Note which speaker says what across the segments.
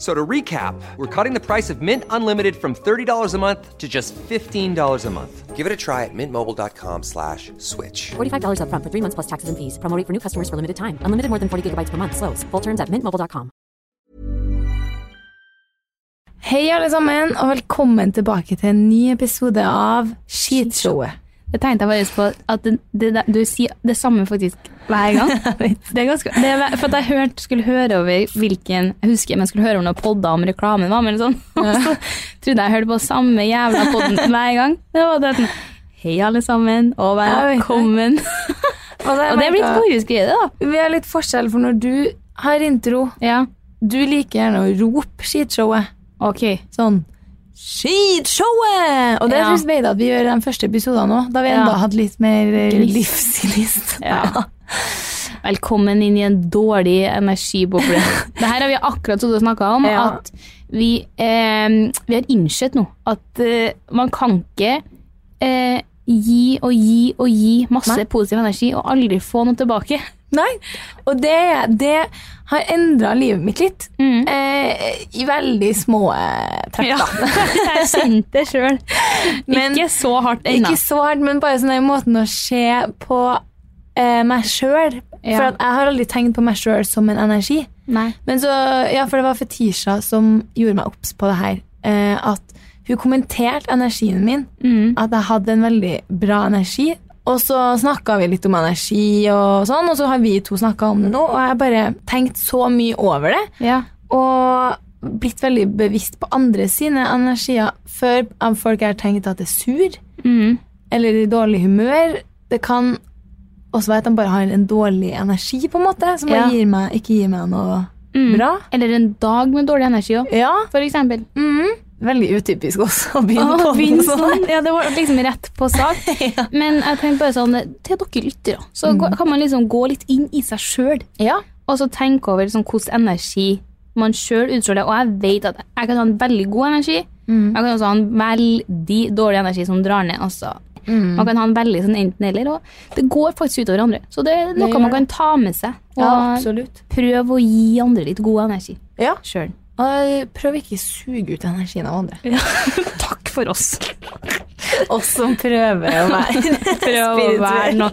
Speaker 1: So to recap, we're cutting the price of Mint Unlimited from $30 a month to just $15 a month. Give it a try at mintmobile.com slash switch.
Speaker 2: $45 upfront for three months plus taxes and fees. Promo rate for new customers for limited time. Unlimited more than 40 gigabytes per month. Slows. Full terms at mintmobile.com.
Speaker 3: Hei, alle sammen, og velkommen tilbake til en ny episode av Skitshowet.
Speaker 4: Det tenkte jeg faktisk på at det, det, det, du sier det samme faktisk hver gang. Det er ganske, det er, for at jeg hørte, skulle høre over hvilken Jeg husker om jeg skulle høre om noen podder om reklamen var med, eller sånn. Og så trodde jeg hørte på samme jævla podden hver gang. Det var det sånn Hei, alle sammen, og velkommen.
Speaker 3: Oh
Speaker 4: Og det er blitt
Speaker 3: merket-
Speaker 4: vår greie, det, da.
Speaker 3: Vi har litt forskjell, for når du har intro
Speaker 4: Ja,
Speaker 3: Du liker gjerne å rope skitshowet.
Speaker 4: ok.
Speaker 3: Sånn Skitshowet! Og det
Speaker 4: Ja.
Speaker 3: syns Beida at vi gjør i de første episodene òg, da vi
Speaker 4: Ja.
Speaker 3: enda hadde litt mer eh,
Speaker 4: Gnist.
Speaker 3: livsgnist.
Speaker 4: Ja. Velkommen inn i en dårlig energiboble. Det her har vi akkurat stått og snakka om.
Speaker 3: Ja.
Speaker 4: At vi, eh, vi har innsett nå at eh, man kan ikke eh, gi og gi og gi masse
Speaker 3: Nei.
Speaker 4: positiv energi og aldri få noe tilbake.
Speaker 3: Nei. Og det, det har endra livet mitt litt.
Speaker 4: Mm.
Speaker 3: Eh, I veldig små eh, trekk, da.
Speaker 4: Jeg kjente det sjøl.
Speaker 3: Men-
Speaker 4: Ikke så hardt ennå.
Speaker 3: Ikke svart, men bare sånn den måten å se på eh, meg sjøl.
Speaker 4: Ja.
Speaker 3: For at jeg har aldri tenkt på meg sjøl som en energi.
Speaker 4: Nei.
Speaker 3: Men så, ja, for det var Fetisha som gjorde meg obs på det her. Eh, at hun kommenterte energien min.
Speaker 4: Mm.
Speaker 3: At jeg hadde en veldig bra energi. Og så snakka vi litt om energi, og sånn, og så har vi to snakka om det nå. Og jeg har bare tenkt så mye over det
Speaker 4: Ja.
Speaker 3: og blitt veldig bevisst på andre sine energier før om folk har tenkt at det er sur
Speaker 4: Mm.
Speaker 3: eller i dårlig humør. Det kan også være at de bare har en dårlig energi, på en måte, som bare
Speaker 4: Ja.
Speaker 3: gir meg, ikke gir meg noe
Speaker 4: Mm.
Speaker 3: bra.
Speaker 4: Eller en dag med dårlig energi òg,
Speaker 3: Ja,
Speaker 4: for eksempel.
Speaker 3: mhm. Veldig utypisk også å begynne
Speaker 4: Å,
Speaker 3: på
Speaker 4: begynn
Speaker 3: det sånn.
Speaker 4: sånn. Ja, det var liksom rett på sak. Men jeg tenker bare sånn, til dere lyttere, så gå- kan man liksom gå litt inn i seg sjøl
Speaker 3: Mm. Ja.
Speaker 4: og så tenke over liksom, hvordan energi man sjøl utstråler. Og jeg vet at jeg kan ha en veldig god energi.
Speaker 3: Mm.
Speaker 4: Jeg kan også ha en veldig dårlig energi som drar ned. Altså.
Speaker 3: Mm.
Speaker 4: Man kan ha en veldig sånn enten-eller. og Det går faktisk utover andre. Så det er noe
Speaker 3: gjør
Speaker 4: man
Speaker 3: det.
Speaker 4: kan ta med seg. Og
Speaker 3: ja, absolutt.
Speaker 4: prøve å gi andre litt god energi
Speaker 3: Ja.
Speaker 4: sjøl.
Speaker 3: Og prøv ikke å suge ut energien av andre.
Speaker 4: Takk for oss.
Speaker 3: Oss som prøver å være
Speaker 4: prøve å være noe.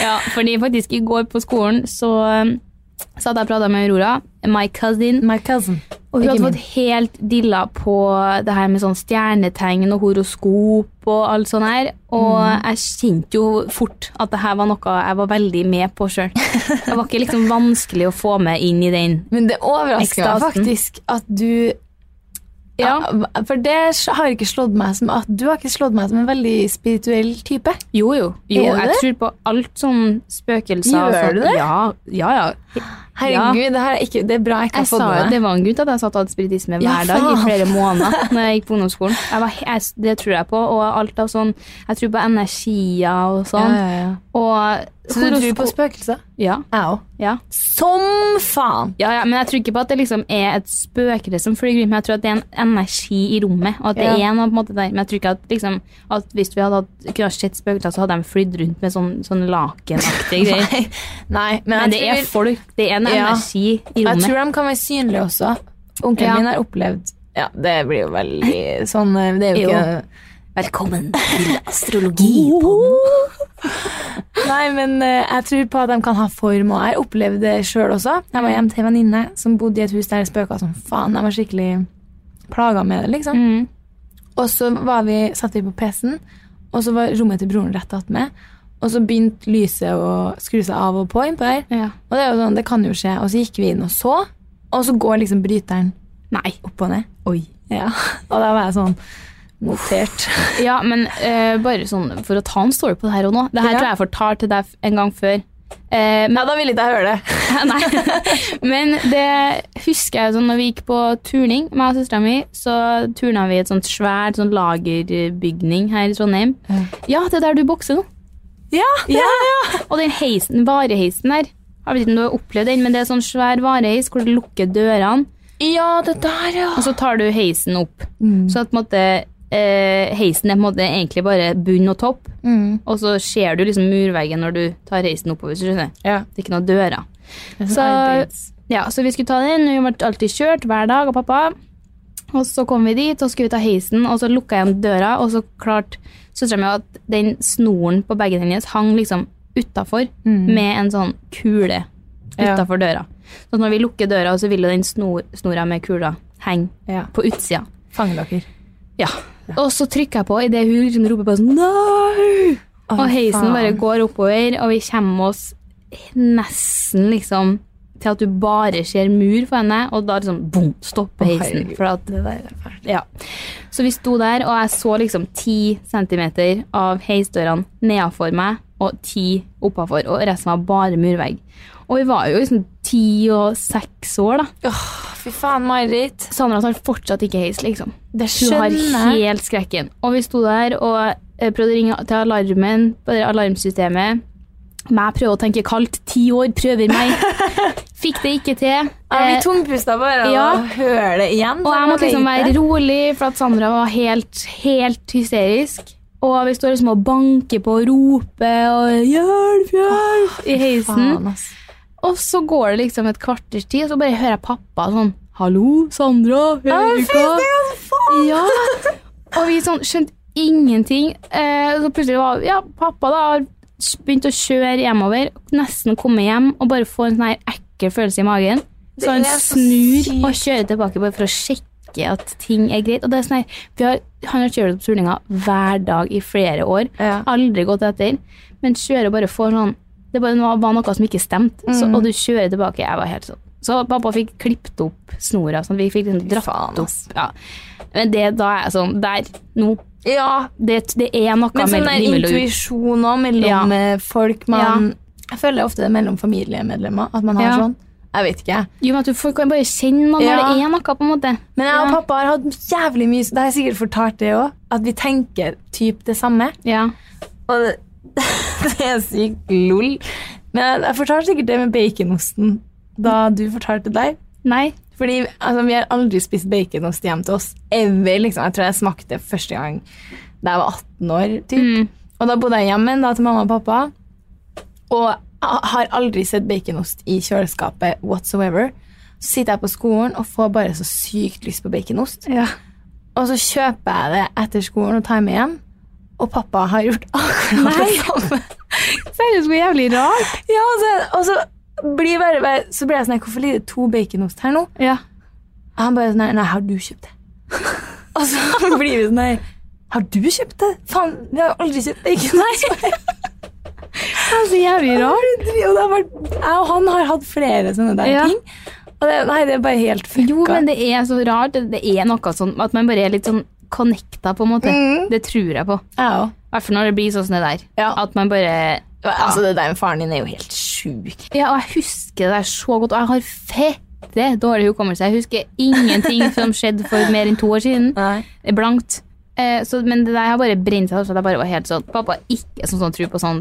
Speaker 4: Ja, fordi faktisk i går på skolen så um, satt jeg og prata med Aurora, my cousin,
Speaker 3: My cousin.
Speaker 4: og hun
Speaker 3: Mm. Ikke
Speaker 4: hadde
Speaker 3: min.
Speaker 4: fått helt dilla på det her med sånn stjernetegn og horoskop og alt sånt her, og
Speaker 3: Mm.
Speaker 4: jeg kjente jo fort at det her var noe jeg var veldig med på sjøl. Det var ikke liksom vanskelig å få meg inn i den.
Speaker 3: Men det overrasker meg
Speaker 4: Ekstasen.
Speaker 3: faktisk at du
Speaker 4: Ja,
Speaker 3: For det har ikke slått meg som at du har ikke slått meg som en veldig spirituell type.
Speaker 4: Jo, jo. jo
Speaker 3: Gjør du
Speaker 4: jeg tror på alt sånn spøkelser. og
Speaker 3: Gjør du
Speaker 4: sånn.
Speaker 3: det?
Speaker 4: Ja, ja. ja.
Speaker 3: Herregud, det, her er ikke, det er bra jeg ikke
Speaker 4: Jeg
Speaker 3: har fått
Speaker 4: sa,
Speaker 3: med meg.
Speaker 4: det var en gutt at jeg satt og hadde spiritisme hver
Speaker 3: Ja,
Speaker 4: dag i
Speaker 3: faen.
Speaker 4: flere måneder når jeg gikk på ungdomsskolen. Jeg var, he- jeg, det tror jeg på. Og alt av sånn Jeg tror på energier og sånn.
Speaker 3: Ja, ja, ja.
Speaker 4: Og
Speaker 3: Så du tror på
Speaker 4: horoskop-
Speaker 3: spøkelser?
Speaker 4: Ja.
Speaker 3: Jeg òg.
Speaker 4: ja.
Speaker 3: Som faen!
Speaker 4: Ja, ja, men jeg tror ikke på at det liksom er et spøkelse som flyr rundt, men jeg tror at det er en energi i rommet. Og at det
Speaker 3: Ja.
Speaker 4: er noe på en måte der. Men jeg tror ikke at, liksom, at hvis vi hadde hatt, kunne ha sett spøkelser, så hadde de flydd rundt med sånn, sånn lakenaktige greier.
Speaker 3: Nei, nei men, jeg,
Speaker 4: Men det
Speaker 3: tror,
Speaker 4: er folk. Det er en
Speaker 3: Ja.
Speaker 4: energi i
Speaker 3: jeg
Speaker 4: rommet.
Speaker 3: tror de kan være synlige også. Onkelen
Speaker 4: Ja.
Speaker 3: min har opplevd Ja, det blir jo veldig sånn eh, Det er jo
Speaker 4: Jo.
Speaker 3: ikke
Speaker 4: Velkommen til astrologi.
Speaker 3: Nei, men eh, jeg tror på at de kan ha form, og jeg opplevde det sjøl også. Jeg
Speaker 4: Mm.
Speaker 3: var hjemme til en venninne som bodde i et hus der det spøka som faen. De var skikkelig plaga med det, liksom.
Speaker 4: Mm.
Speaker 3: Og så var vi, satt vi på PC-en, og så var rommet til broren rett attmed. Og så begynte lyset å skru seg av og på innpå der.
Speaker 4: Ja.
Speaker 3: Og det er jo sånn, det kan jo skje. Og så gikk vi inn og så, og så går liksom bryteren
Speaker 4: Nei.
Speaker 3: opp og ned. Ja. Og da var jeg sånn notert.
Speaker 4: Ja, men eh, bare sånn for å ta en story på det her og nå. Det her
Speaker 3: Ja.
Speaker 4: tror jeg jeg fortalte til deg f- en gang før. Eh, men,
Speaker 3: Ja, da ville ikke jeg høre det.
Speaker 4: nei. men det husker jeg sånn når vi gikk på turning med jeg og søstera mi, så turna vi i et sånt svært sånn lagerbygning her i Trondheim. Ja, det er der du bokser nå.
Speaker 3: Ja, ja, ja.
Speaker 4: Og den heisen, vareheisen der, jeg vet ikke om du har opplevd den, men det er sånn svær vareheis hvor du lukker dørene,
Speaker 3: Ja, det der, ja.
Speaker 4: og så tar du heisen opp.
Speaker 3: Mm.
Speaker 4: Så at på en måte eh, heisen er på en måte egentlig bare bunn og topp.
Speaker 3: Mm.
Speaker 4: Og så ser du liksom murveggen når du tar heisen oppover. Så skjønner jeg.
Speaker 3: Ja.
Speaker 4: Det er ikke noen dører.
Speaker 3: Så,
Speaker 4: Så- Ja, så vi skulle ta den. Vi ble alltid kjørt hver dag av pappa. Og så kom vi dit, og skulle vi ta heisen, og så lukka jeg igjen døra, og så klarte søstera mi at den snoren på bagen hennes hang liksom utafor med en sånn kule
Speaker 3: Mm. Ja.
Speaker 4: utafor døra. Så når vi lukker døra, så vil jo den snor, snora med kula henge
Speaker 3: ja.
Speaker 4: på utsida.
Speaker 3: Fange dere.
Speaker 4: Ja. Og så trykker jeg på idet hun liksom roper bare sånn Nei!
Speaker 3: Å,
Speaker 4: og heisen
Speaker 3: faen.
Speaker 4: bare går oppover, og vi kommer oss nesten liksom til at du bare ser mur for henne, og da liksom boom, stopper heisen.
Speaker 3: herregud.
Speaker 4: For at,
Speaker 3: Det der er fælt.
Speaker 4: ja. Så vi sto der, og jeg så liksom ti centimeter av heisdørene nedafor meg, og ti oppafor, og resten var bare murvegg. Og vi var jo liksom ti og seks år, da.
Speaker 3: Fy faen, Marit.
Speaker 4: Sandra tar fortsatt ikke heis, liksom.
Speaker 3: Det
Speaker 4: Du har
Speaker 3: skjønner jeg.
Speaker 4: helt skrekken. Og vi sto der og eh, prøvde å ringe til alarmen, på det alarmsystemet. Men jeg prøver å tenke kaldt. Ti år prøver meg. Fikk det ikke til.
Speaker 3: Jeg blir
Speaker 4: Eh,
Speaker 3: tungpusta bare av
Speaker 4: ja.
Speaker 3: å høre det igjen.
Speaker 4: og jeg måtte liksom være
Speaker 3: ro.
Speaker 4: rolig, for at Sandra var helt, helt hysterisk. Og vi står liksom og banker på og roper og 'hjelp, hjelp' i heisen.
Speaker 3: Faen, ass.
Speaker 4: Og så går det liksom et kvarters tid, og så bare hører jeg pappa sånn 'Hallo, Sandra. Hører du hva?' Ja. Og vi sånn skjønte ingenting. Eh, så plutselig var ja, pappa da har begynt å kjøre hjemover, nesten komme hjem og bare få en sånn her ekkel følelse i magen.
Speaker 3: Det
Speaker 4: Så han
Speaker 3: er så
Speaker 4: snur
Speaker 3: sykt.
Speaker 4: og kjører tilbake bare for å sjekke at ting er greit. Og det er sånn her, vi har, Han har kjørt opp turninga hver dag i flere år.
Speaker 3: Ja.
Speaker 4: Aldri gått etter. Men kjører bare for sånn Det bare var var noe som ikke stemte, så,
Speaker 3: Mm.
Speaker 4: og du kjører tilbake. Jeg var helt sånn. Så pappa fikk klippet opp snora. Sånn, at vi fikk liksom dratt
Speaker 3: faen,
Speaker 4: opp.
Speaker 3: ass.
Speaker 4: Ja. Men det da er jeg sånn Der, nå.
Speaker 3: Ja.
Speaker 4: Det, det er
Speaker 3: Men
Speaker 4: noe
Speaker 3: sånn
Speaker 4: mellom
Speaker 3: der
Speaker 4: himmel og jord.
Speaker 3: intuisjon òg mellom
Speaker 4: Ja.
Speaker 3: eh, folk man Jeg føler ofte det er mellom familiemedlemmer at man har
Speaker 4: Ja.
Speaker 3: sånn. Jeg vet ikke, jeg.
Speaker 4: Jo, men at du får, kan bare kjenne noe når
Speaker 3: Ja.
Speaker 4: det er noe, på en måte.
Speaker 3: Men jeg og
Speaker 4: Ja.
Speaker 3: pappa har hatt jævlig mye Det har jeg sikkert fortalt det òg. At vi tenker typ det samme.
Speaker 4: Ja.
Speaker 3: Og det, det er sykt lol. Men jeg, jeg fortalte sikkert det med baconosten da du fortalte det der.
Speaker 4: Nei.
Speaker 3: Fordi altså, vi har aldri spist baconost hjem til oss. Ever, liksom. Jeg tror jeg smakte det første gang da jeg var 18 år. Typ.
Speaker 4: Mm.
Speaker 3: Og da bodde jeg hjemme da, til mamma og pappa. Og jeg har aldri sett baconost i kjøleskapet whatsoever. Så sitter jeg på skolen og får bare så sykt lyst på baconost.
Speaker 4: Ja.
Speaker 3: Og så kjøper jeg det etter skolen og tar med hjem. Og pappa har gjort akkurat det
Speaker 4: Nei.
Speaker 3: samme.
Speaker 4: Seriøst, hvor jævlig rart.
Speaker 3: Ja, og så, og så blir bare, bare, så blir jeg sånn, hvorfor ligger det to baconost her nå?
Speaker 4: Ja.
Speaker 3: Og han bare sånn, her, nei, har du kjøpt det? og så blir vi sånn, her, har du kjøpt det? Faen, vi har aldri kjøpt baconost.
Speaker 4: Det er så jævlig rart.
Speaker 3: Og det har vært, jeg og han har hatt flere sånne der
Speaker 4: Ja.
Speaker 3: ting. Og det, nei, det er bare helt fucka.
Speaker 4: Jo, men det er så rart. Det, det er noe sånn at man bare er litt sånn connecta, på en måte.
Speaker 3: Mm.
Speaker 4: Det tror jeg på.
Speaker 3: Ja,
Speaker 4: I hvert fall når det blir sånn som det der.
Speaker 3: Ja.
Speaker 4: At man bare
Speaker 3: altså det der med faren din er jo helt sjukt. sjukt.
Speaker 4: Ja, og jeg husker det der så godt, og jeg har fette dårlig hukommelse. Jeg husker ingenting som skjedde for mer enn to år siden. Det er Blankt. Eh, så, men det der har bare brent seg, så jeg bare var helt sånn Pappa ikke sånn som tror på sånn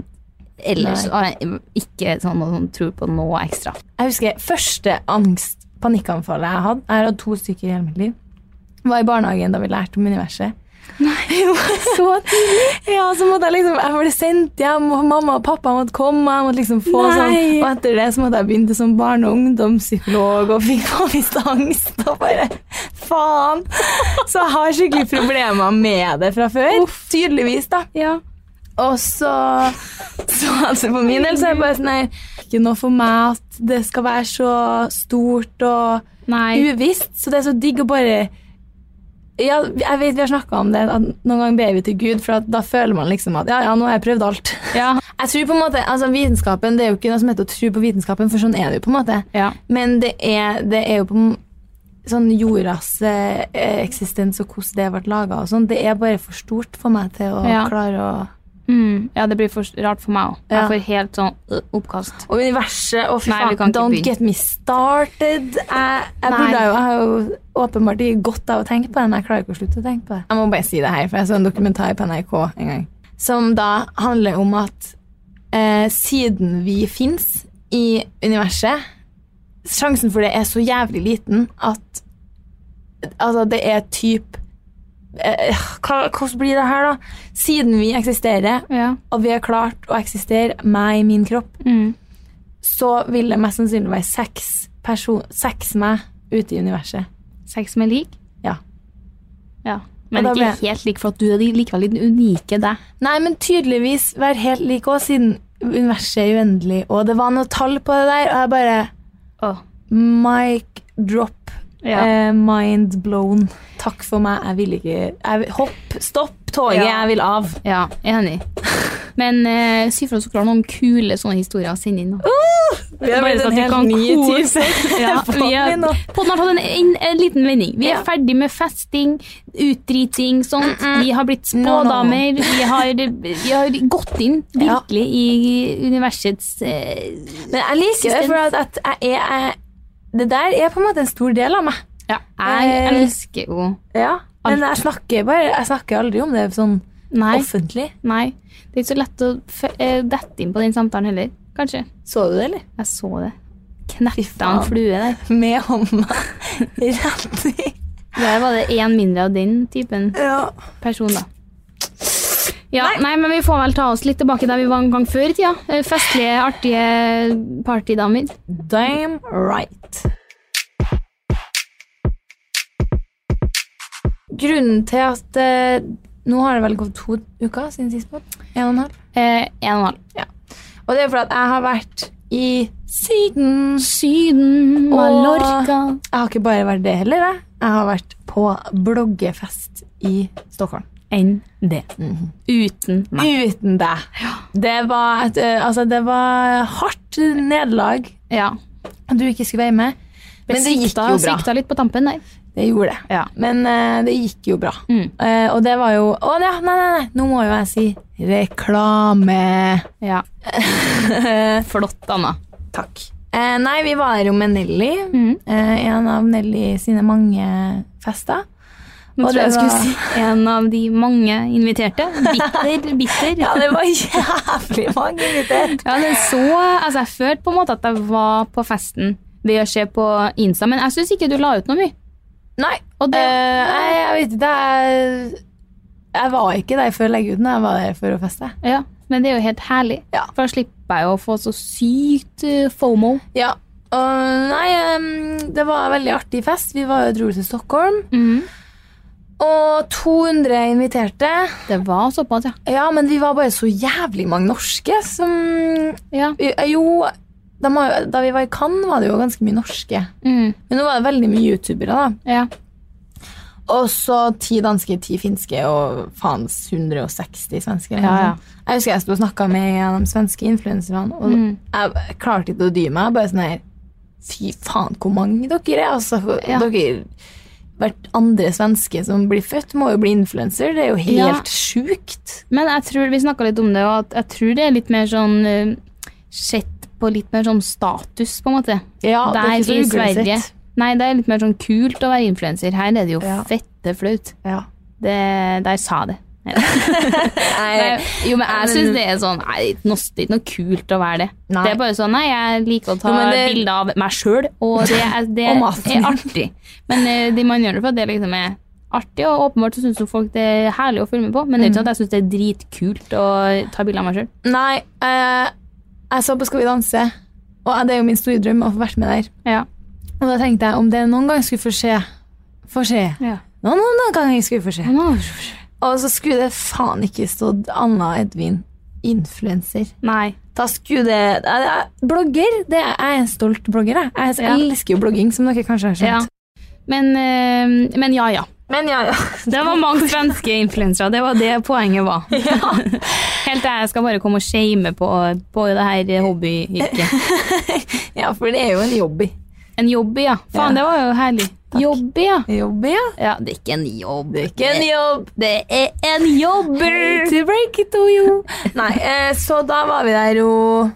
Speaker 4: ellers.
Speaker 3: Nei.
Speaker 4: Ah, nei, Ikke sånn som sånn, tror på noe ekstra.
Speaker 3: Jeg husker første angst, panikkanfallet jeg hadde. Jeg har hatt to stykker i hele mitt liv. Var i barnehagen da vi lærte om universet.
Speaker 4: Så tidlig!
Speaker 3: Ja, så måtte jeg liksom, jeg ble sendt hjem, og mamma og pappa måtte komme. Jeg måtte liksom få
Speaker 4: Nei.
Speaker 3: sånn, Og etter det så måtte jeg begynne som barne- og ungdomspsykolog og fikk panisk angst. Og bare faen! Så jeg har skikkelig problemer med det fra før. Tydeligvis, da.
Speaker 4: Ja.
Speaker 3: Og så, så altså For min del så er det bare sånn nei, Ikke noe for meg at det skal være så stort og
Speaker 4: Nei.
Speaker 3: uvisst. Så det er så digg å bare ja, jeg vet vi har snakka om det, at noen ganger ber vi til Gud, for at da føler man liksom at ja, ja, nå har jeg prøvd alt.
Speaker 4: Ja.
Speaker 3: Jeg tror på en måte, altså vitenskapen, Det er jo ikke noe som heter å tro på vitenskapen, for sånn er det jo. på en måte.
Speaker 4: Ja.
Speaker 3: Men det er, det er jo på en- sånn jordas eh, eksistens og hvordan det ble laga og sånn, det er bare for stort for meg til å
Speaker 4: Ja.
Speaker 3: klare å
Speaker 4: Mm, ja, det blir for rart for meg òg.
Speaker 3: Ja.
Speaker 4: Jeg får helt sånn øh, oppkast.
Speaker 3: Og universet og fy
Speaker 4: Nei, vi
Speaker 3: faen,
Speaker 4: kan ikke
Speaker 3: don't
Speaker 4: begynne.
Speaker 3: get me started. Jeg, jeg,
Speaker 4: Nei.
Speaker 3: burde, jo- jeg har jo åpenbart ikke godt av å tenke på det, men jeg klarer ikke å slutte å tenke på det. Jeg må bare si det her, for jeg så en dokumentar på NRK en gang som da handler om at eh, siden vi fins i universet, sjansen for det er så jævlig liten at altså, det er typ eh, hva, Hvordan blir det her, da? Siden vi eksisterer,
Speaker 4: Ja.
Speaker 3: og vi har klart å eksistere meg i min kropp,
Speaker 4: Mm.
Speaker 3: så vil det mest sannsynlig være seks, person, seks meg ute i universet.
Speaker 4: Sex med lik?
Speaker 3: Ja.
Speaker 4: ja. Men
Speaker 3: Og da
Speaker 4: ikke
Speaker 3: ble-
Speaker 4: helt lik, for at du er likevel den unike deg.
Speaker 3: Nei, men tydeligvis være helt like òg, siden universet er uendelig. Og det var noe tall på det der, og jeg bare
Speaker 4: Åh.
Speaker 3: Mic drop.
Speaker 4: Ja.
Speaker 3: Eh, mind blown. Takk for meg. Jeg vil ikke jeg vil, Hopp, stopp toget.
Speaker 4: Ja.
Speaker 3: Jeg vil av.
Speaker 4: Ja, enig. Men eh, si fra så klart noen kule sånne historier å sende inn. da.
Speaker 3: Vi
Speaker 4: Bare så at vi kan kose. Ja, vi er,
Speaker 3: nå.
Speaker 4: podden har fått en, en, en liten vending. Vi er
Speaker 3: Ja.
Speaker 4: ferdig med festing, utdriting, sånt. Vi har blitt
Speaker 3: No, no, no.
Speaker 4: spådamer. Vi, har, vi har gått inn virkelig i universets eh,
Speaker 3: Men jeg liker det, for at, at jeg er jeg, Det der er på en måte en stor del av meg.
Speaker 4: Ja, jeg
Speaker 3: Eh.
Speaker 4: elsker jo
Speaker 3: Ja, men jeg snakker, bare, jeg snakker aldri om det sånn
Speaker 4: Nei.
Speaker 3: offentlig.
Speaker 4: Nei. Det er ikke så lett å f- eh, dette inn på den samtalen heller, kanskje.
Speaker 3: Så du det, eller?
Speaker 4: Jeg så det.
Speaker 3: Fy
Speaker 4: Knepta
Speaker 3: faen.
Speaker 4: en flue der.
Speaker 3: Med hånda rett i.
Speaker 4: Der var det én mindre av den typen.
Speaker 3: Ja.
Speaker 4: person, da. Ja, nei. men vi får vel ta oss litt tilbake der vi var en gang før i tida. Eh, Festlige, artige partydamer.
Speaker 3: Damn right. Grunnen til at eh, Nå har det vel gått to uker siden sist pod? En og en halv.
Speaker 4: Eh, en og en halv.
Speaker 3: Og det er fordi at jeg har vært i Syden.
Speaker 4: Syden, Mallorca
Speaker 3: Jeg har ikke bare vært det heller, jeg. Jeg har vært på bloggefest i Stockholm.
Speaker 4: Enn det. Uten meg.
Speaker 3: Uten deg. Det var, et, eh, altså, det var hardt nederlag
Speaker 4: Ja.
Speaker 3: at du ikke skulle være med. Men det gikk
Speaker 4: Svikta-
Speaker 3: jo bra.
Speaker 4: Svikta litt på tampen der.
Speaker 3: Det gjorde det.
Speaker 4: Ja.
Speaker 3: Men eh, det gikk jo bra.
Speaker 4: Mm.
Speaker 3: Eh, og det var jo Å ja, nei, nei, nei, nå må jo jeg si reklame.
Speaker 4: Ja. Flott, Anna.
Speaker 3: Takk. Eh, nei, vi var der jo med Nelly. eh, en av Nelly sine mange fester.
Speaker 4: Nå
Speaker 3: Og
Speaker 4: tror jeg jeg
Speaker 3: det
Speaker 4: skulle
Speaker 3: var-
Speaker 4: si en av de mange inviterte. Bitter, bitter.
Speaker 3: Ja, det var jævlig mange invitert.
Speaker 4: Ja, det så, altså jeg følte på en måte at jeg var på festen ved å se på Insta, men jeg syns ikke du la ut noe mye.
Speaker 3: Nei,
Speaker 4: Og det,
Speaker 3: eh, nei, jeg vet ikke. Jeg, jeg var ikke der for å legge ut den. Jeg var der for å feste.
Speaker 4: ja, men det er jo helt herlig.
Speaker 3: Ja.
Speaker 4: For da slipper jeg jo å få så sykt eh, fomo.
Speaker 3: Ja. Og nei, eh, det var en veldig artig fest. Vi var jo dro til Stockholm. Og 200 inviterte.
Speaker 4: Det var såpass, ja.
Speaker 3: Ja, men vi var bare så jævlig mange norske som eh,
Speaker 4: ja.
Speaker 3: Jo, de har, jo- da vi var i Cannes, var det jo ganske mye norske.
Speaker 4: Mm,
Speaker 3: Men nå var det veldig mye youtubere, da.
Speaker 4: ja.
Speaker 3: Og så ti danske, ti finske og faens 160 svensker. eller
Speaker 4: Ja,
Speaker 3: noe
Speaker 4: ja. Mm.
Speaker 3: sånt. Jeg husker jeg sto og snakka med en av de svenske influenserne, og jeg klarte ikke å dy meg. Bare sånn her Fy faen, hvor mange dere er! Altså,
Speaker 4: Ja.
Speaker 3: dere, hvert andre svenske som blir født, må jo bli influenser. Det er jo
Speaker 4: Ja.
Speaker 3: helt sjukt.
Speaker 4: Men jeg tror, vi snakka litt om det, og at jeg tror det er litt mer sånn uh, eh, sett på litt mer sånn status, på en måte.
Speaker 3: Ja, det er
Speaker 4: Der
Speaker 3: ikke så
Speaker 4: i
Speaker 3: uglesett.
Speaker 4: Sverige. Nei, det er litt mer sånn kult å være influenser. Her er det jo
Speaker 3: Ja.
Speaker 4: fette flaut.
Speaker 3: Ja.
Speaker 4: Det, der sa jeg det. Nei, Nei, jo, men jeg syns det er sånn Nei, det er ikke noe- det er ikke noe kult å være det.
Speaker 3: Nei.
Speaker 4: Det er bare sånn Nei, jeg liker å ta
Speaker 3: Jo, men det-
Speaker 4: bilder av meg sjøl, og det, er, det
Speaker 3: Og maten
Speaker 4: er artig. Men eh, det man gjør det for, det liksom er artig, og åpenbart så syns jo folk det er herlig å følge med på. Men
Speaker 3: Mm.
Speaker 4: det er ikke sånn at jeg syns det er dritkult å ta bilder av meg sjøl.
Speaker 3: Nei, eh, jeg så på Skal vi danse, og det er jo min store drøm å få vært med der.
Speaker 4: Ja.
Speaker 3: Og da tenkte jeg om det noen gang skulle få skje Få skje. Noen, noen ganger skulle få skje. Og så skulle det faen ikke stått Anna Edvin, influenser.
Speaker 4: Nei.
Speaker 3: Da skulle det jeg- jeg- Blogger! Det er, jeg er en stolt blogger. Jeg, jeg
Speaker 4: Ja.
Speaker 3: elsker jo blogging, som dere kanskje har
Speaker 4: Ja.
Speaker 3: skjønt.
Speaker 4: Men, eh, men ja, ja.
Speaker 3: Men ja, ja.
Speaker 4: Det var mange svenske influensere. Det var det poenget var. Helt til jeg skal bare komme og shame på, på det her hobbyyrket.
Speaker 3: ja, for det er jo en jobby.
Speaker 4: En jobby, ja.
Speaker 3: Ja.
Speaker 4: Faen, det var jo herlig. Jobby, ja.
Speaker 3: Jobby, ja.
Speaker 4: ja. Det er ikke en jobb.
Speaker 3: Ikke en jobb.
Speaker 4: Det er en jobber!
Speaker 3: To break it to you. Nei, eh, så da var vi der jo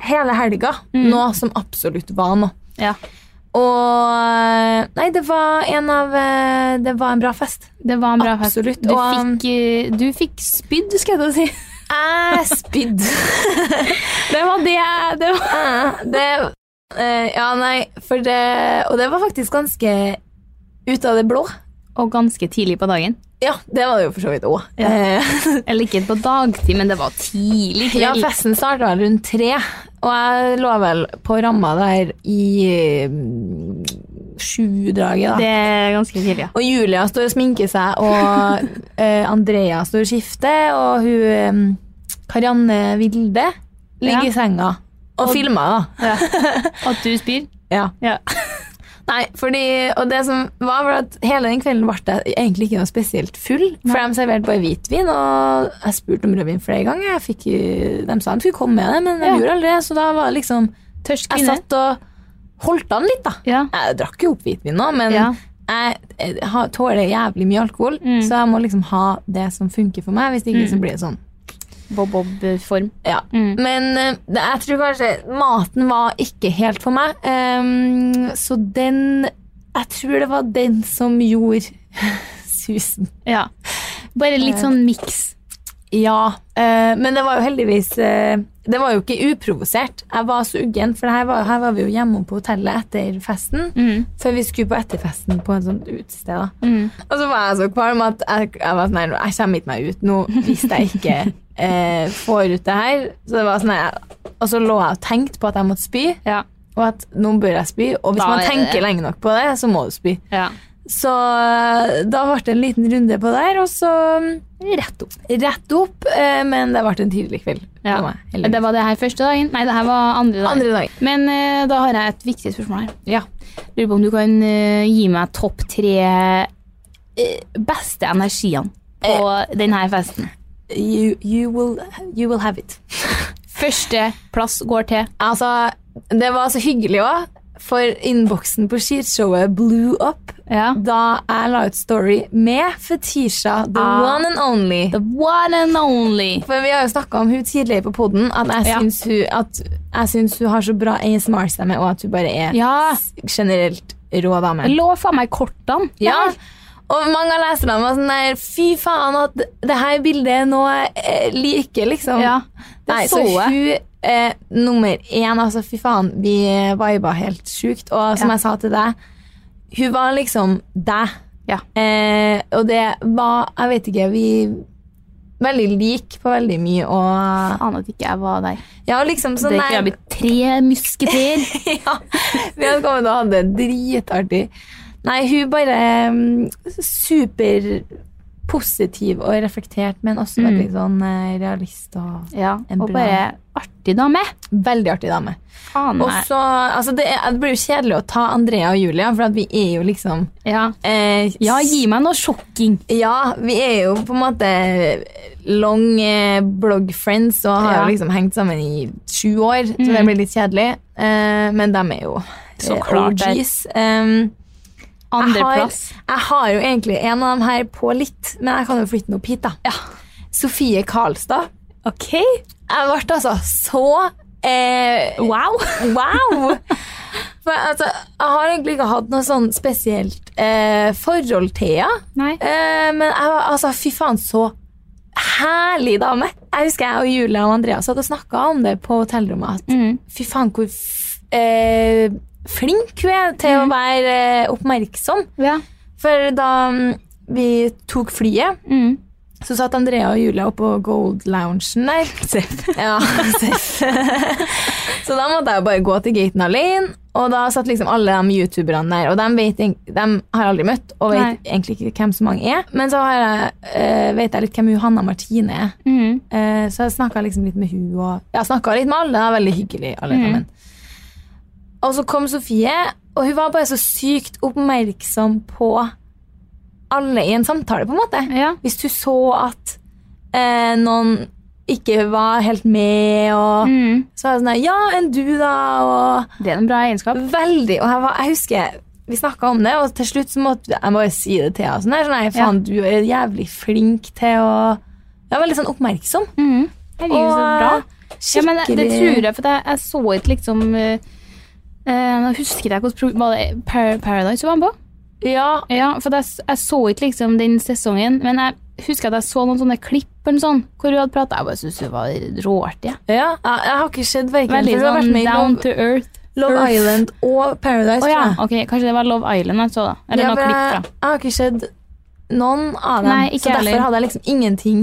Speaker 3: hele helga.
Speaker 4: Mm.
Speaker 3: Noe som absolutt var noe.
Speaker 4: Ja,
Speaker 3: Og eh, Nei, det var en av eh, Det var en bra fest.
Speaker 4: det var en bra fest.
Speaker 3: Absolutt.
Speaker 4: Du
Speaker 3: og, um,
Speaker 4: fikk, eh, du fikk spydd, skal jeg til å si.
Speaker 3: Jeg spydde.
Speaker 4: Det var det jeg det var.
Speaker 3: Eh, det eh, Ja, nei, for det Og det var faktisk ganske ut av det blå.
Speaker 4: Og ganske tidlig på dagen.
Speaker 3: Ja, det var det jo for så vidt Eh, òg.
Speaker 4: Eller ikke på dagtid, men det var tidlig
Speaker 3: Ja,
Speaker 4: kveld.
Speaker 3: festen starta vel rundt tre, og jeg lå vel på ramma der i eh, sju-draget, da.
Speaker 4: det er ganske tidlig, ja.
Speaker 3: Og Julia står og sminker seg, og eh, Andrea står og skifter, og hun eh, Karianne Vilde ligger
Speaker 4: Ja.
Speaker 3: i senga og, filmer, da.
Speaker 4: At du spyr.
Speaker 3: Ja.
Speaker 4: Ja.
Speaker 3: Nei, fordi, og det som var, var at hele den kvelden ble jeg egentlig ikke noe spesielt full. For de serverte bare hvitvin, og jeg spurte om rødvin flere ganger. Jeg fikk, eh, de sa de skulle komme med det, men de
Speaker 4: Ja.
Speaker 3: gjorde aldri det. Så da var det liksom
Speaker 4: Tørst
Speaker 3: Jeg
Speaker 4: kvinne.
Speaker 3: satt og holdt an litt, da.
Speaker 4: Ja.
Speaker 3: Jeg drakk jo opp hvitvin nå, men
Speaker 4: Ja. Mm.
Speaker 3: jeg, jeg har- tåler jævlig mye alkohol, så jeg må liksom ha det som funker for meg. Hvis ikke så blir det sånn.
Speaker 4: Bob-Bob-form.
Speaker 3: Ja. Men eh, det, jeg tror kanskje maten var ikke helt for meg. Ehm, så den Jeg tror det var den som gjorde susen.
Speaker 4: Ja. Bare litt sånn miks.
Speaker 3: Ja, eh, men det var jo heldigvis eh, Det var jo ikke uprovosert. Jeg var så uggen, for her var, her var vi jo hjemme på hotellet etter festen.
Speaker 4: Mm.
Speaker 3: Før vi skulle på etterfesten på et sånt utested. da. Og så var jeg så kvalm at jeg, jeg var sånn, «Nei, nå- jeg kommer ikke meg ut nå hvis jeg ikke eh, får ut det her. Så det var sånn, jeg, og så lå jeg og tenkte på at jeg måtte spy,
Speaker 4: Ja.
Speaker 3: og at nå bør jeg spy. Og hvis
Speaker 4: Da er
Speaker 3: man
Speaker 4: det-
Speaker 3: tenker lenge nok på det, så må du spy.
Speaker 4: ja.
Speaker 3: Så eh, da ble det en liten runde på der, og så mm, rett opp. Rett opp, eh, men det ble en tidlig kveld. for
Speaker 4: Ja.
Speaker 3: meg, heldigvis.
Speaker 4: Det var det her første dagen? Nei, det her var andre dagen.
Speaker 3: Andre dagen.
Speaker 4: Men eh, da har jeg et viktig spørsmål her.
Speaker 3: Ja.
Speaker 4: Lurer på om du kan eh, gi meg topp tre eh, beste energiene på denne festen.
Speaker 3: You, you, will, you will have it.
Speaker 4: Første plass går til
Speaker 3: Altså, det var så hyggelig òg, for innboksen på skishowet blew up
Speaker 4: ja.
Speaker 3: da jeg la ut story med Fetisha, the
Speaker 4: Ah.
Speaker 3: one and only.
Speaker 4: The one and only.
Speaker 3: For Vi har jo snakka om hun tidligere på poden, at jeg
Speaker 4: Ja.
Speaker 3: syns hun, at jeg syns hun har så bra ASMR-stemme, og at hun bare er
Speaker 4: Ja.
Speaker 3: s- generelt rå dame.
Speaker 4: Lå faen meg kortene.
Speaker 3: Ja. Og mange av leserne var sånn der Fy faen, at det her bildet nå eh, liker, liksom.
Speaker 4: Ja, det
Speaker 3: Nei,
Speaker 4: så jeg.
Speaker 3: hun eh, nummer én, altså, fy faen, vi viba helt sjukt. Og som
Speaker 4: Ja.
Speaker 3: jeg sa til deg, hun var liksom deg.
Speaker 4: Ja.
Speaker 3: Eh, og det var Jeg vet ikke, vi Veldig lik på veldig mye og
Speaker 4: Aner at ikke jeg var der.
Speaker 3: Ja, liksom sånn
Speaker 4: Det kunne
Speaker 3: der-
Speaker 4: ha blitt tre musketer.
Speaker 3: ja, vi hadde kommet og hatt det dritartig. Nei, hun bare mm, superpositiv og reflektert, men
Speaker 4: Mm.
Speaker 3: også veldig sånn eh, realist og
Speaker 4: Ja,
Speaker 3: En
Speaker 4: og
Speaker 3: bra-
Speaker 4: bare artig dame.
Speaker 3: veldig artig dame.
Speaker 4: Faen
Speaker 3: Og
Speaker 4: meg.
Speaker 3: så, altså det, er, det blir jo kjedelig å ta Andrea og Julia, for at vi er jo liksom
Speaker 4: Ja.
Speaker 3: eh,
Speaker 4: ja, gi meg noe sjokking.
Speaker 3: Ja, vi er jo på en måte long eh, blog friends og har
Speaker 4: Ja. Mm.
Speaker 3: jo liksom hengt sammen i sju år, så det blir litt kjedelig. Eh, men de er jo
Speaker 4: Så
Speaker 3: eh,
Speaker 4: klart det.
Speaker 3: OGs. Um, jeg har,
Speaker 4: Andreplass.
Speaker 3: jeg har jo egentlig en av dem her på litt, men jeg kan jo flytte den opp hit, da. Sofie Karlstad.
Speaker 4: Ok.
Speaker 3: Jeg ble altså så Eh,
Speaker 4: Wow!
Speaker 3: Wow! For altså, jeg har egentlig ikke hatt noe sånn spesielt eh, forhold til henne.
Speaker 4: Nei.
Speaker 3: Eh, men jeg var, altså, fy faen, så herlig dame! Jeg husker jeg og Julia og Andreas hadde snakka om det på hotellrommet. At
Speaker 4: Mm.
Speaker 3: fy faen, hvor f eh, flink hun er til
Speaker 4: Mm.
Speaker 3: å være eh, oppmerksom.
Speaker 4: Ja.
Speaker 3: For da mm, vi tok flyet,
Speaker 4: Mm.
Speaker 3: så satt Andrea og Julia oppå Gold-loungen der. Ja, seff. så da måtte jeg jo bare gå til gaten alene, og da satt liksom alle de youtuberne der, og de, vet, eng- de har jeg aldri møtt, og vet
Speaker 4: Nei.
Speaker 3: egentlig ikke hvem så mange er. Men så har jeg, eh, vet jeg litt hvem hun Hanna Martine er,
Speaker 4: Mm.
Speaker 3: Eh, så jeg snakka liksom litt med hun og Jeg snakka litt med alle, det var veldig hyggelig, alle
Speaker 4: Mm.
Speaker 3: sammen. Og så kom Sofie, og hun var bare så sykt oppmerksom på alle i en samtale, på en måte
Speaker 4: ja.
Speaker 3: hvis du så at eh, noen ikke var helt med, og
Speaker 4: Mm.
Speaker 3: så var det sånn der, Ja, enn du, da? Og
Speaker 4: Det er en bra egenskap.
Speaker 3: veldig. Og jeg, var, jeg husker vi snakka om det, og til slutt så måtte jeg bare si det til henne. Sånn der, sånn, Nei, faen, du er jævlig flink til å Jeg var veldig sånn oppmerksom.
Speaker 4: Mm. Herregud, så bra. Ja, men det, det tror
Speaker 3: skikkelig-
Speaker 4: jeg, for jeg, jeg så ikke liksom eh, eh, Nå husker jeg hvordan pro- Var det Par Paradise du var med på?
Speaker 3: Ja,
Speaker 4: Ja, for jeg, s- jeg så ikke liksom den sesongen, men jeg husker at jeg så noen sånne klipp eller sånn, hvor hun hadde pratet. Jeg bare syntes hun var råartig. jeg.
Speaker 3: ja. Jeg, jeg har ikke sett verken
Speaker 4: Veldig
Speaker 3: for hun har vært
Speaker 4: sånn
Speaker 3: med i
Speaker 4: down
Speaker 3: Love,
Speaker 4: to earth.
Speaker 3: Love
Speaker 4: Earth.
Speaker 3: Island og Paradise.
Speaker 4: Å
Speaker 3: tror
Speaker 4: ja,
Speaker 3: jeg.
Speaker 4: ok, kanskje det var Love Island jeg så da. Eller
Speaker 3: Ja,
Speaker 4: noe
Speaker 3: for
Speaker 4: klipp
Speaker 3: jeg,
Speaker 4: fra.
Speaker 3: jeg har ikke sett noen av dem,
Speaker 4: Nei, ikke
Speaker 3: så derfor
Speaker 4: heller.
Speaker 3: hadde jeg liksom ingenting